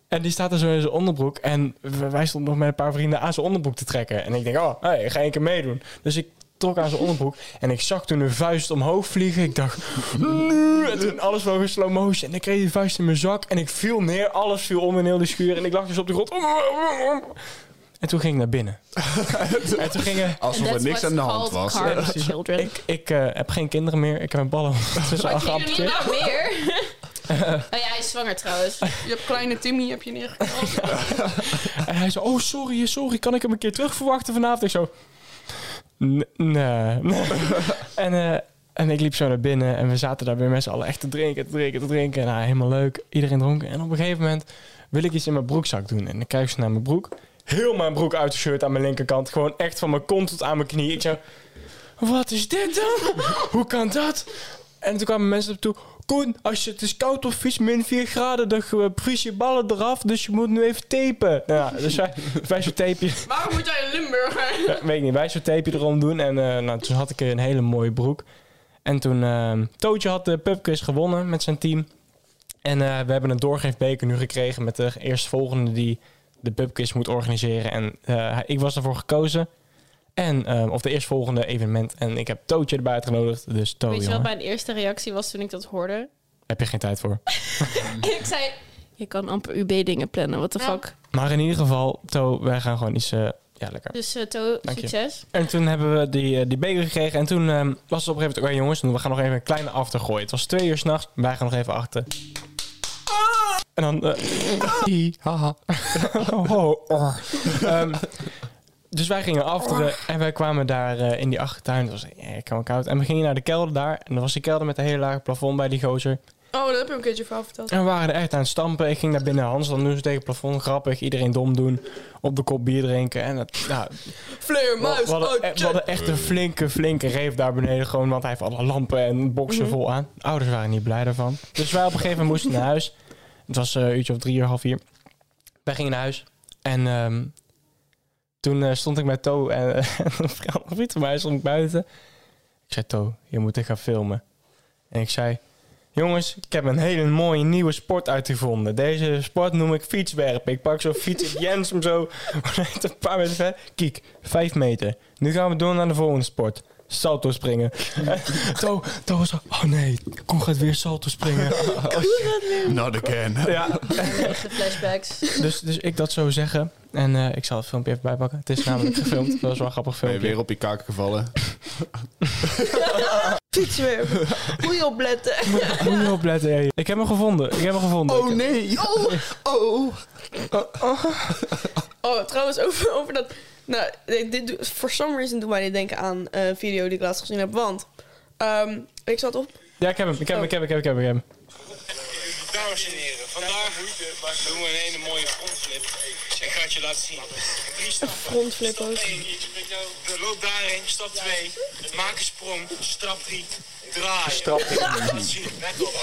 Speaker 1: En die staat er zo in zijn onderbroek. En w- wij stonden nog met een paar vrienden aan zijn onderbroek te trekken. En ik denk, oh, hey, ik ga één keer meedoen. Dus ik trok aan zijn onderbroek. En ik zag toen een vuist omhoog vliegen. Ik dacht, "Nee." en toen alles vloog in slow motion. En ik kreeg die vuist in mijn zak. En ik viel neer. Alles viel om in heel die schuur. En ik lag dus op de grond. En toen ging ik naar binnen. en toen gingen...
Speaker 4: Alsof er
Speaker 3: That's
Speaker 4: niks aan de
Speaker 3: what's
Speaker 4: hand
Speaker 3: called
Speaker 4: was.
Speaker 3: car-
Speaker 1: Ja, precies.
Speaker 3: Children.
Speaker 1: Ik, ik eh, heb geen kinderen meer. Ik heb een ballen tussen
Speaker 3: Wat
Speaker 1: acht
Speaker 3: jullie doen
Speaker 1: amputeren.
Speaker 3: nou meer? oh ja, hij is zwanger trouwens.
Speaker 1: Oh,
Speaker 2: Je hebt kleine Timmy, heb je neergekomen.
Speaker 1: En hij zo, oh sorry, sorry, kan ik hem een keer terug verwachten vanavond? Ik zo, "N- nee. en, eh, en ik liep zo naar binnen en we zaten daar weer met z'n allen echt te drinken, te drinken, te drinken. Nou, helemaal leuk. Iedereen dronken. En op een gegeven moment wil ik iets in mijn broekzak doen. En ik kijk ze naar mijn broek. Heel mijn broek uit de shirt aan mijn linkerkant. Gewoon echt van mijn kont tot aan mijn knie. Ik zo, wat is dit dan? Hoe kan dat? En toen kwamen mensen op toe. Koen, als je, het is koud of vies, min 4 graden, dan eh, vries je ballen eraf. Dus je moet nu even tapen. Nou Ja, dus wij, wij zo'n tapeje,
Speaker 2: Waarom moet jij een Limburger?
Speaker 1: ja, weet ik niet, wij zo'n tapeje erom doen. En eh, nou, toen had ik een hele mooie broek. En toen, ehm, Tootje had de pubquiz gewonnen met zijn team. En eh, we hebben een doorgeefbeker nu gekregen met de eerstvolgende die de pubquiz moet organiseren. En eh, ik was daarvoor gekozen. En, eh, of de eerstvolgende evenement. En ik heb Tootje erbij uitgenodigd. Dus Tootje.
Speaker 3: Weet je wat mijn eerste reactie was toen ik dat hoorde?
Speaker 1: Heb je geen tijd voor.
Speaker 4: Mm.
Speaker 3: ik zei, je kan amper UB-dingen plannen, what the
Speaker 2: Ja.
Speaker 3: fuck.
Speaker 1: Maar in ieder geval, To, wij gaan gewoon iets eh, ja, lekker.
Speaker 3: Dus eh, To,
Speaker 1: Dank je.
Speaker 3: succes.
Speaker 1: En toen hebben we die, eh, die beker gekregen. En toen ehm, was het op een gegeven moment... Oké jongens, we gaan nog even een kleine after gooien. Het was twee uur s'nachts. Wij gaan nog even achter. En dan... eh, hi, haha. Ho, or. Ehm, dus wij gingen afteren. En wij kwamen daar eh, in die achtertuin. Het was eh, kan koud. En we gingen naar de kelder daar. En dan was die kelder met een hele lage plafond bij die gozer.
Speaker 2: Oh, dat heb je een keertje verhaal verteld.
Speaker 1: En we waren er echt aan het stampen. Ik ging naar binnen. Hans, dan doen ze tegen het plafond. Grappig. Iedereen dom doen. Op de kop bier drinken. En dat, nou,
Speaker 2: Fleur,
Speaker 1: we,
Speaker 2: muis, oh,
Speaker 1: we hadden, e- we hadden echt een flinke, flinke reef daar beneden. Gewoon, want hij heeft alle lampen en boksen vol aan. De ouders waren niet blij daarvan. Dus wij op een gegeven moment moesten naar huis. Het was eh, een uurtje of drie uur, half vier. Wij gingen naar huis. En ehm, toen eh, stond ik met To en eh, een vrouw- een vriend van mij stond ik buiten. Ik zei, To, je moet dit gaan filmen. En ik zei, jongens, ik heb een hele mooie nieuwe sport uitgevonden. Deze sport noem ik fietswerpen. Ik pak zo'n fiets, ik jens hem zo Net een paar meter ver. Kiek, vijf meter. Nu gaan we door naar de volgende sport. Salto springen. Zo, toen was zo, oh nee, Koen gaat weer salto springen.
Speaker 4: Not again.
Speaker 1: Ja,
Speaker 3: Echte flashbacks.
Speaker 1: dus, dus ik dat zo zeggen. En eh, ik zal het filmpje even bijpakken. Het is namelijk gefilmd. Dat was wel een grappig
Speaker 4: Ben je
Speaker 1: filmpje.
Speaker 4: weer op je kaak gevallen?
Speaker 2: Fiets weer. Moet je opletten.
Speaker 1: Moet je opletten. hè. Ik heb hem gevonden. Ik heb hem gevonden. Ik-
Speaker 4: nee. Oh, oh.
Speaker 2: Oh, trouwens, over, over dat... Nou, dit, dit doet- for some reason doet mij dit denken aan eh, een video die ik laatst gezien heb. Want ehm, ik zat op...
Speaker 1: Ja, ik heb hem. Ik heb hem. Ik heb hem. Ik heb hem. Ik heb hem.
Speaker 8: Dames en heren, vandaag doen we een hele mooie frontflip. Ik ga het je laten zien. In drie stappen.
Speaker 2: Frontflip ook.
Speaker 8: Stap 1, loop daarheen. Stap 2, maak een sprong. Stap 3, draai. Stap 3. Let op.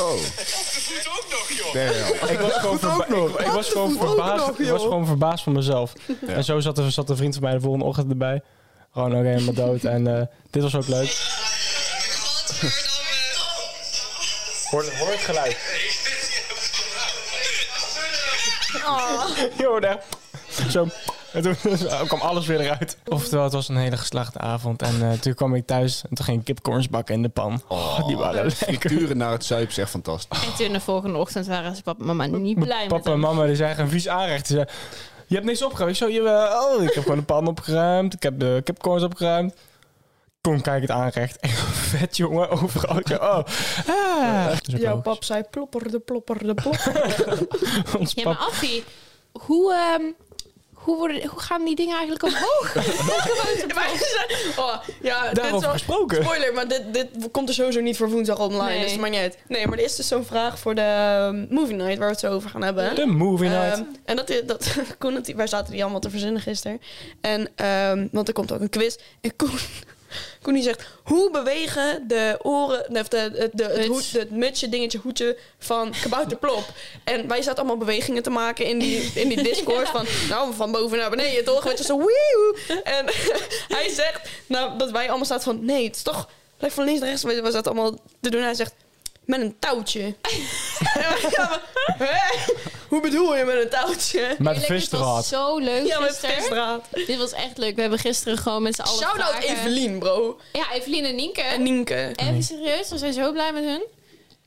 Speaker 4: Oh,
Speaker 8: De voet ook nog, joh.
Speaker 4: damn.
Speaker 1: Ik was gewoon, verba- ik, ik was gewoon verbaasd. ik was gewoon verbaasd van mezelf. En zo zat, er, zat een vriend van mij de volgende ochtend erbij. Gewoon ook helemaal dood. En eh, dit was ook leuk.
Speaker 8: Wat weer dan?
Speaker 9: Hoor, hoor het geluid.
Speaker 1: Je hoorde echt Zo. En toen kwam alles weer eruit. Oftewel, het was een hele geslachte avond. En eh, toen kwam ik thuis en toen ging ik kipcorns bakken in de pan. Oh, die waren lekker.
Speaker 4: Kuren naar het zuip is echt fantastisch.
Speaker 3: En toen de volgende ochtend waren ze papa en mama niet blij met
Speaker 1: Papa en
Speaker 3: hem.
Speaker 1: mama die zijn een vies aanrecht. Ze zeiden, je hebt niks opgeruimd. Ik zo, jawel. Oh, Ik heb gewoon de pan opgeruimd. Ik heb de kipcorns opgeruimd. Kom, kijk het aanrecht. Echt Vet jongen, overal. Ik zei, oh. Ah. Dat is ook
Speaker 2: Jouw
Speaker 1: logisch.
Speaker 2: pap zei plopper de plopper de plopper.
Speaker 1: Ons
Speaker 3: Ja,
Speaker 1: pap-
Speaker 3: maar Affie, hoe, ehm, hoe, worden, hoe gaan die dingen eigenlijk omhoog?
Speaker 2: Oh, ja, dit is
Speaker 1: Daarover
Speaker 2: wel-
Speaker 1: gesproken.
Speaker 2: Spoiler, maar dit, dit komt er sowieso niet voor woensdag online,
Speaker 3: Nee.
Speaker 2: dus het maakt niet uit. Nee, maar er is dus zo'n vraag voor de ehm, movie night waar we het zo over gaan hebben.
Speaker 1: De movie night.
Speaker 2: Ehm, en dat, i- dat Koen, het- wij zaten die allemaal te verzinnen gisteren. En, ehm, want er komt ook een quiz. En Koen, Koen die zegt, hoe bewegen de oren, of de, de, de- het,
Speaker 3: Muts.
Speaker 2: hoed, het mutsje, dingetje, hoedje van Kabouter Plop? En wij zaten allemaal bewegingen te maken in die, in die Discord van, nou, van boven naar beneden, toch? Weet je, zo, wiehoe. En hij zegt, nou, dat wij allemaal zaten van, nee, het is toch, lijkt van links naar rechts, weet je, we zaten allemaal te doen. Hij zegt, met een touwtje. En wij gaan van, hè? Hoe bedoel je met een touwtje?
Speaker 1: Met
Speaker 3: Eerlijk, dit was
Speaker 1: visdraad.
Speaker 3: zo leuk
Speaker 2: Ja, met
Speaker 3: gisteren.
Speaker 2: visdraad.
Speaker 3: Dit was echt leuk. We hebben gisteren gewoon met z'n allen
Speaker 2: Shout-out
Speaker 3: vragen-
Speaker 2: Evelien, bro.
Speaker 3: Ja, Evelien en Nienke.
Speaker 2: En Nienke.
Speaker 3: Even serieus, we zijn zo blij met hun.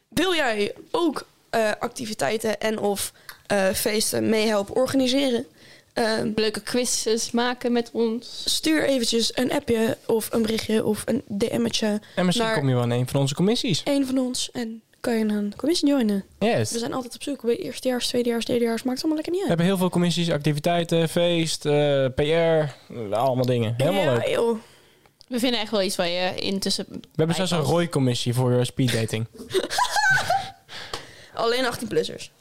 Speaker 2: Wil jij ook eh, activiteiten en of eh, feesten meehelpen organiseren? Ehm,
Speaker 3: Leuke quizzes maken met ons.
Speaker 2: stuur eventjes een appje of een berichtje of een DM'tje
Speaker 1: En misschien
Speaker 2: naar
Speaker 1: kom je wel in een van onze commissies.
Speaker 2: een van ons en kan je een commissie joinen.
Speaker 1: Yes.
Speaker 2: We zijn altijd op zoek. bij Eerstejaars, tweedejaars, derdejaars, maakt het allemaal lekker niet
Speaker 1: We
Speaker 2: uit.
Speaker 1: hebben heel veel commissies, activiteiten, feest, eh, PR, allemaal dingen. Helemaal
Speaker 2: ja,
Speaker 1: leuk. We
Speaker 2: joh.
Speaker 3: We vinden echt wel iets waar je intussen...
Speaker 1: hebben zelfs een rooi-commissie voor eh, speeddating.
Speaker 2: Alleen 18-plussers.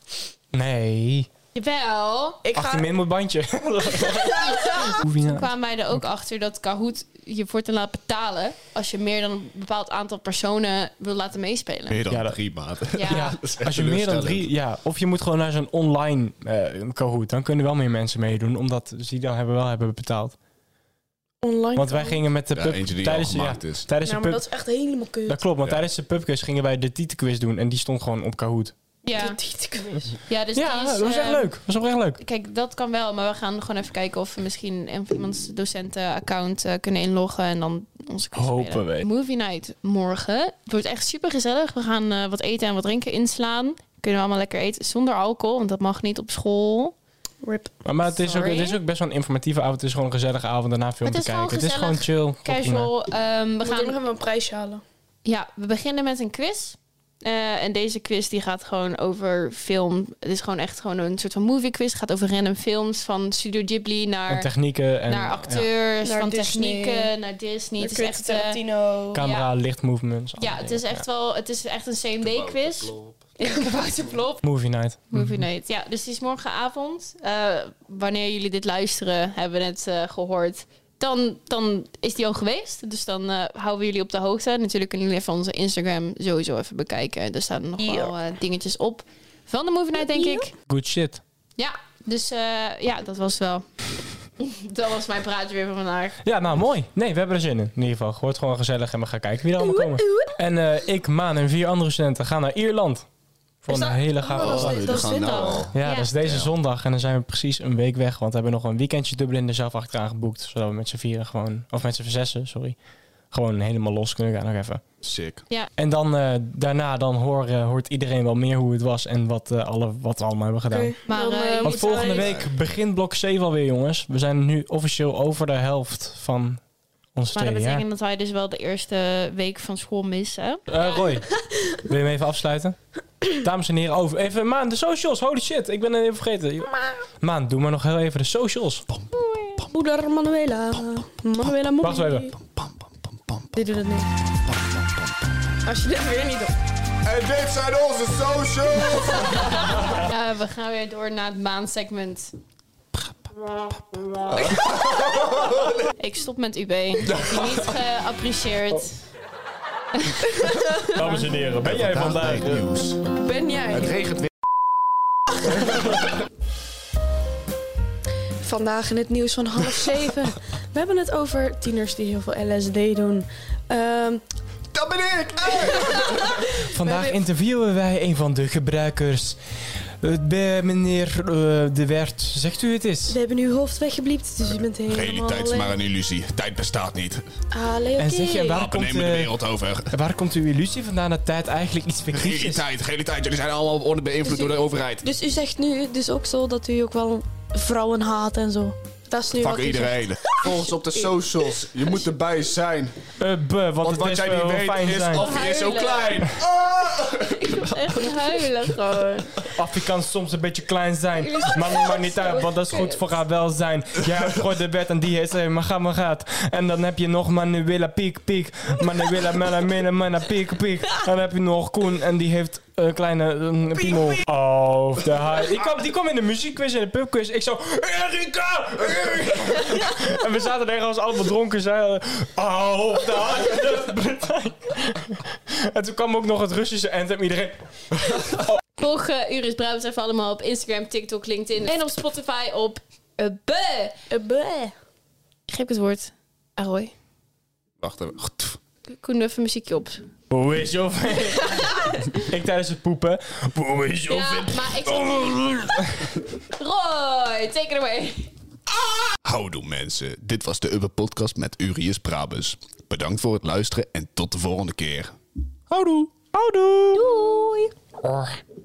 Speaker 1: Nee,
Speaker 3: Jawel.
Speaker 2: Ik
Speaker 1: 18
Speaker 2: ga...
Speaker 1: min moet bandje. Hoef je
Speaker 3: Toen
Speaker 1: nou-
Speaker 3: kwamen wij er ook achter dat Kahoot je voor te laten betalen... als je meer dan een bepaald aantal personen wil laten meespelen.
Speaker 4: Meer dan
Speaker 1: Ja, dat-
Speaker 4: drie maten.
Speaker 3: Ja.
Speaker 1: Ja,
Speaker 4: is echt
Speaker 1: als je meer dan
Speaker 4: teleurstellend.
Speaker 1: drie, ja, of je moet gewoon naar zo'n online eh Kahoot, dan kunnen wel meer mensen meedoen, omdat ze die dan hebben wel hebben betaald.
Speaker 2: Online.
Speaker 1: Want wij gingen met de
Speaker 4: Ja,
Speaker 1: pub
Speaker 4: eentje die
Speaker 1: tijdens,
Speaker 4: al gemaakt
Speaker 1: ja,
Speaker 4: is.
Speaker 1: tijdens
Speaker 2: Nou,
Speaker 1: de
Speaker 2: maar
Speaker 1: pub.
Speaker 2: dat is echt helemaal kut.
Speaker 1: Dat klopt, want
Speaker 4: Ja.
Speaker 1: tijdens de pubquiz gingen wij de titelquiz doen en die stond gewoon op Kahoot.
Speaker 3: Ja, ja dus
Speaker 1: Ja,
Speaker 3: die is,
Speaker 1: dat was echt
Speaker 3: ehm,
Speaker 1: leuk. Dat was oprecht leuk.
Speaker 3: Kijk, dat kan wel, maar we gaan gewoon even kijken of we misschien een- iemands docentenaccount eh, kunnen inloggen en dan onze quiz
Speaker 1: Hopen
Speaker 3: spelen.
Speaker 1: we.
Speaker 3: Movie night morgen. Het wordt echt super gezellig. We gaan eh, wat eten en wat drinken inslaan. Kunnen we allemaal lekker eten zonder alcohol, want dat mag niet op school.
Speaker 2: Rip.
Speaker 1: Maar, maar het, is ook, het
Speaker 3: Sorry?
Speaker 1: is ook best wel een informatieve avond. Het is gewoon een gezellige avond daarna film
Speaker 3: Het
Speaker 1: te
Speaker 3: is gewoon
Speaker 1: kijken. Het is gewoon chill. Nou, Prima.
Speaker 3: Casual. ehm, we
Speaker 2: We gaan nog
Speaker 3: gaan.
Speaker 2: even een prijsje halen.
Speaker 3: Ja, we beginnen met een quiz. Eh, en deze quiz die gaat gewoon over film. Het is gewoon echt gewoon een soort van movie quiz. Het gaat over random films van Studio Ghibli
Speaker 1: En
Speaker 3: naar
Speaker 1: technieken en
Speaker 3: naar acteurs,
Speaker 2: Naar
Speaker 3: van
Speaker 2: Disney.
Speaker 3: technieken, naar Disney. Het is
Speaker 2: Quentin
Speaker 3: echt, eh,
Speaker 2: Tarantino.
Speaker 1: ja, camera,
Speaker 3: ja.
Speaker 1: lichtmovements. alle
Speaker 3: ja, het
Speaker 1: dingen.
Speaker 3: is echt wel, het is echt een CMD-quiz. Kabouterplop.
Speaker 1: Movie night.
Speaker 3: Movie night. Ja, dus die is morgenavond. Eh, wanneer jullie dit luisteren, hebben we het eh, gehoord. Dan, dan is die al geweest. Dus dan eh, houden we jullie op de hoogte. Natuurlijk kunnen jullie even onze Instagram sowieso even bekijken. Er staan nog wel eh, dingetjes op van de Movie Night, denk ik.
Speaker 1: Good shit.
Speaker 3: Ja, dus eh, ja, dat was wel... dat was mijn praatje weer van vandaag.
Speaker 1: Ja, nou mooi. Nee, we hebben er zin in. In ieder geval, het wordt gewoon gezellig en we gaan kijken wie er allemaal komen. En eh, ik, Maan en vier andere studenten gaan naar Ierland. Voor
Speaker 2: Is
Speaker 1: een
Speaker 2: dat-
Speaker 1: hele
Speaker 2: Oh,
Speaker 1: gave
Speaker 2: dat is
Speaker 1: stad.
Speaker 2: dit-
Speaker 4: we
Speaker 2: dat is
Speaker 4: gaan
Speaker 2: dit
Speaker 4: nou
Speaker 2: al.
Speaker 4: al.
Speaker 1: Ja,
Speaker 3: Ja.
Speaker 1: dat is deze zondag en dan zijn we precies een week weg. Want we hebben nog een weekendje Dublin er zelf achteraan geboekt. Zodat we met z'n vieren gewoon, of met z'n zessen, sorry. Gewoon helemaal los kunnen gaan nog even.
Speaker 4: Sick.
Speaker 1: En dan eh, daarna dan hoor, eh, hoort iedereen wel meer hoe het was en wat, eh, alle, wat we allemaal hebben gedaan.
Speaker 2: Oké,
Speaker 3: Maar,
Speaker 2: dan,
Speaker 3: eh,
Speaker 2: eh,
Speaker 3: want
Speaker 1: Want
Speaker 2: moeten
Speaker 1: volgende
Speaker 2: wij-
Speaker 1: week begint blok 7 alweer, jongens. We zijn nu officieel over de helft van ons
Speaker 3: Maar dat
Speaker 1: tweede jaar.
Speaker 3: betekent dat wij dus wel de eerste week van school missen.
Speaker 1: Eh, Roy, wil je hem even afsluiten? Dames en heren, over. Even, Maan, de socials. Holy shit, ik ben het even vergeten. Maan, doe maar nog heel even de socials.
Speaker 2: Moeder Manuela. Manuela Moeder.
Speaker 1: Wacht even.
Speaker 2: Dit doet het niet. Als je dit weer niet doet.
Speaker 4: En dit zijn onze socials!
Speaker 3: Eh, we gaan weer door naar het maansegment. Ik stop met UB. Ik heb niet eh, geapprecieerd.
Speaker 1: Dames en heren, ben jij vandaag... eh.
Speaker 4: het nieuws.
Speaker 2: Ben
Speaker 4: Het
Speaker 2: jij
Speaker 4: regent weer.
Speaker 2: vandaag in het nieuws van half zeven? We hebben het over tieners die heel veel LSD doen. Ehm,
Speaker 4: Dat ben ben ik! Hey!
Speaker 1: Vandaag interviewen wij een van de gebruikers. Het bij meneer eh, De Wert, zegt u het eens?
Speaker 2: We hebben uw hoofd weggebliept, dus u bent helemaal
Speaker 4: Realiteit is
Speaker 2: alleen.
Speaker 4: maar een illusie. Tijd bestaat niet.
Speaker 2: Ah, Leo,
Speaker 1: En zeg je,
Speaker 2: oké.
Speaker 1: waar
Speaker 4: Apen
Speaker 1: komt,
Speaker 4: nemen de
Speaker 1: eh,
Speaker 4: wereld over.
Speaker 1: waar komt uw illusie vandaan dat tijd eigenlijk iets fictiefs is?
Speaker 4: Realiteit, realiteit. Jullie zijn allemaal onder beïnvloed door de overheid.
Speaker 2: Dus u zegt nu dus ook zo dat u ook wel vrouwen haat en zo. Dat is nu
Speaker 4: Fuck
Speaker 2: wat u zegt.
Speaker 4: iedereen. Volg ons op de socials. Je moet erbij zijn.
Speaker 1: Eh, buh, wat
Speaker 4: Want
Speaker 1: het
Speaker 4: wat
Speaker 1: is
Speaker 4: jij
Speaker 1: wel
Speaker 4: niet weet
Speaker 1: fijn
Speaker 4: is,
Speaker 1: zijn.
Speaker 4: Afri is zo
Speaker 3: Huilen.
Speaker 4: klein.
Speaker 3: Echt eh, huilen gewoon.
Speaker 1: Afri kan soms een beetje klein zijn. Maar niet, maar niet uit, want dat is goed voor haar welzijn. Jij gooit de wet en die heet ze, maar ga maar gaat. En dan heb je nog Manuela Piek Piek. Manuela Mela Mela Mela Piek Piek. Dan heb je nog Koen en die heeft een kleine eh, piemel. Oh, de haai. Die kwam, die kwam in de muziekquiz en de pubquiz. Ik zo, Erika! Erika! en we zaten daar als allemaal dronken. Zeiden, oh, de haai. en toen kwam ook nog het Russische anthem. Iedereen...
Speaker 3: Volg eh, Uris Brabant even allemaal op Instagram, TikTok, LinkedIn en op Spotify op eh, Be.
Speaker 2: Eh, bleh.
Speaker 3: Geef ik het woord aan Roy.
Speaker 4: Wacht even.
Speaker 3: Koen, doe even muziekje op.
Speaker 1: Hoe is jouw Ik tijdens het poepen. Hoe is jouw
Speaker 3: Ja, maar ik... Roy, take it away.
Speaker 4: Houdoe mensen. Dit was de Ubbe Podcast met Urius Brabus. Bedankt voor het luisteren en tot de volgende keer.
Speaker 1: Houdoe. Houdoe. Doei.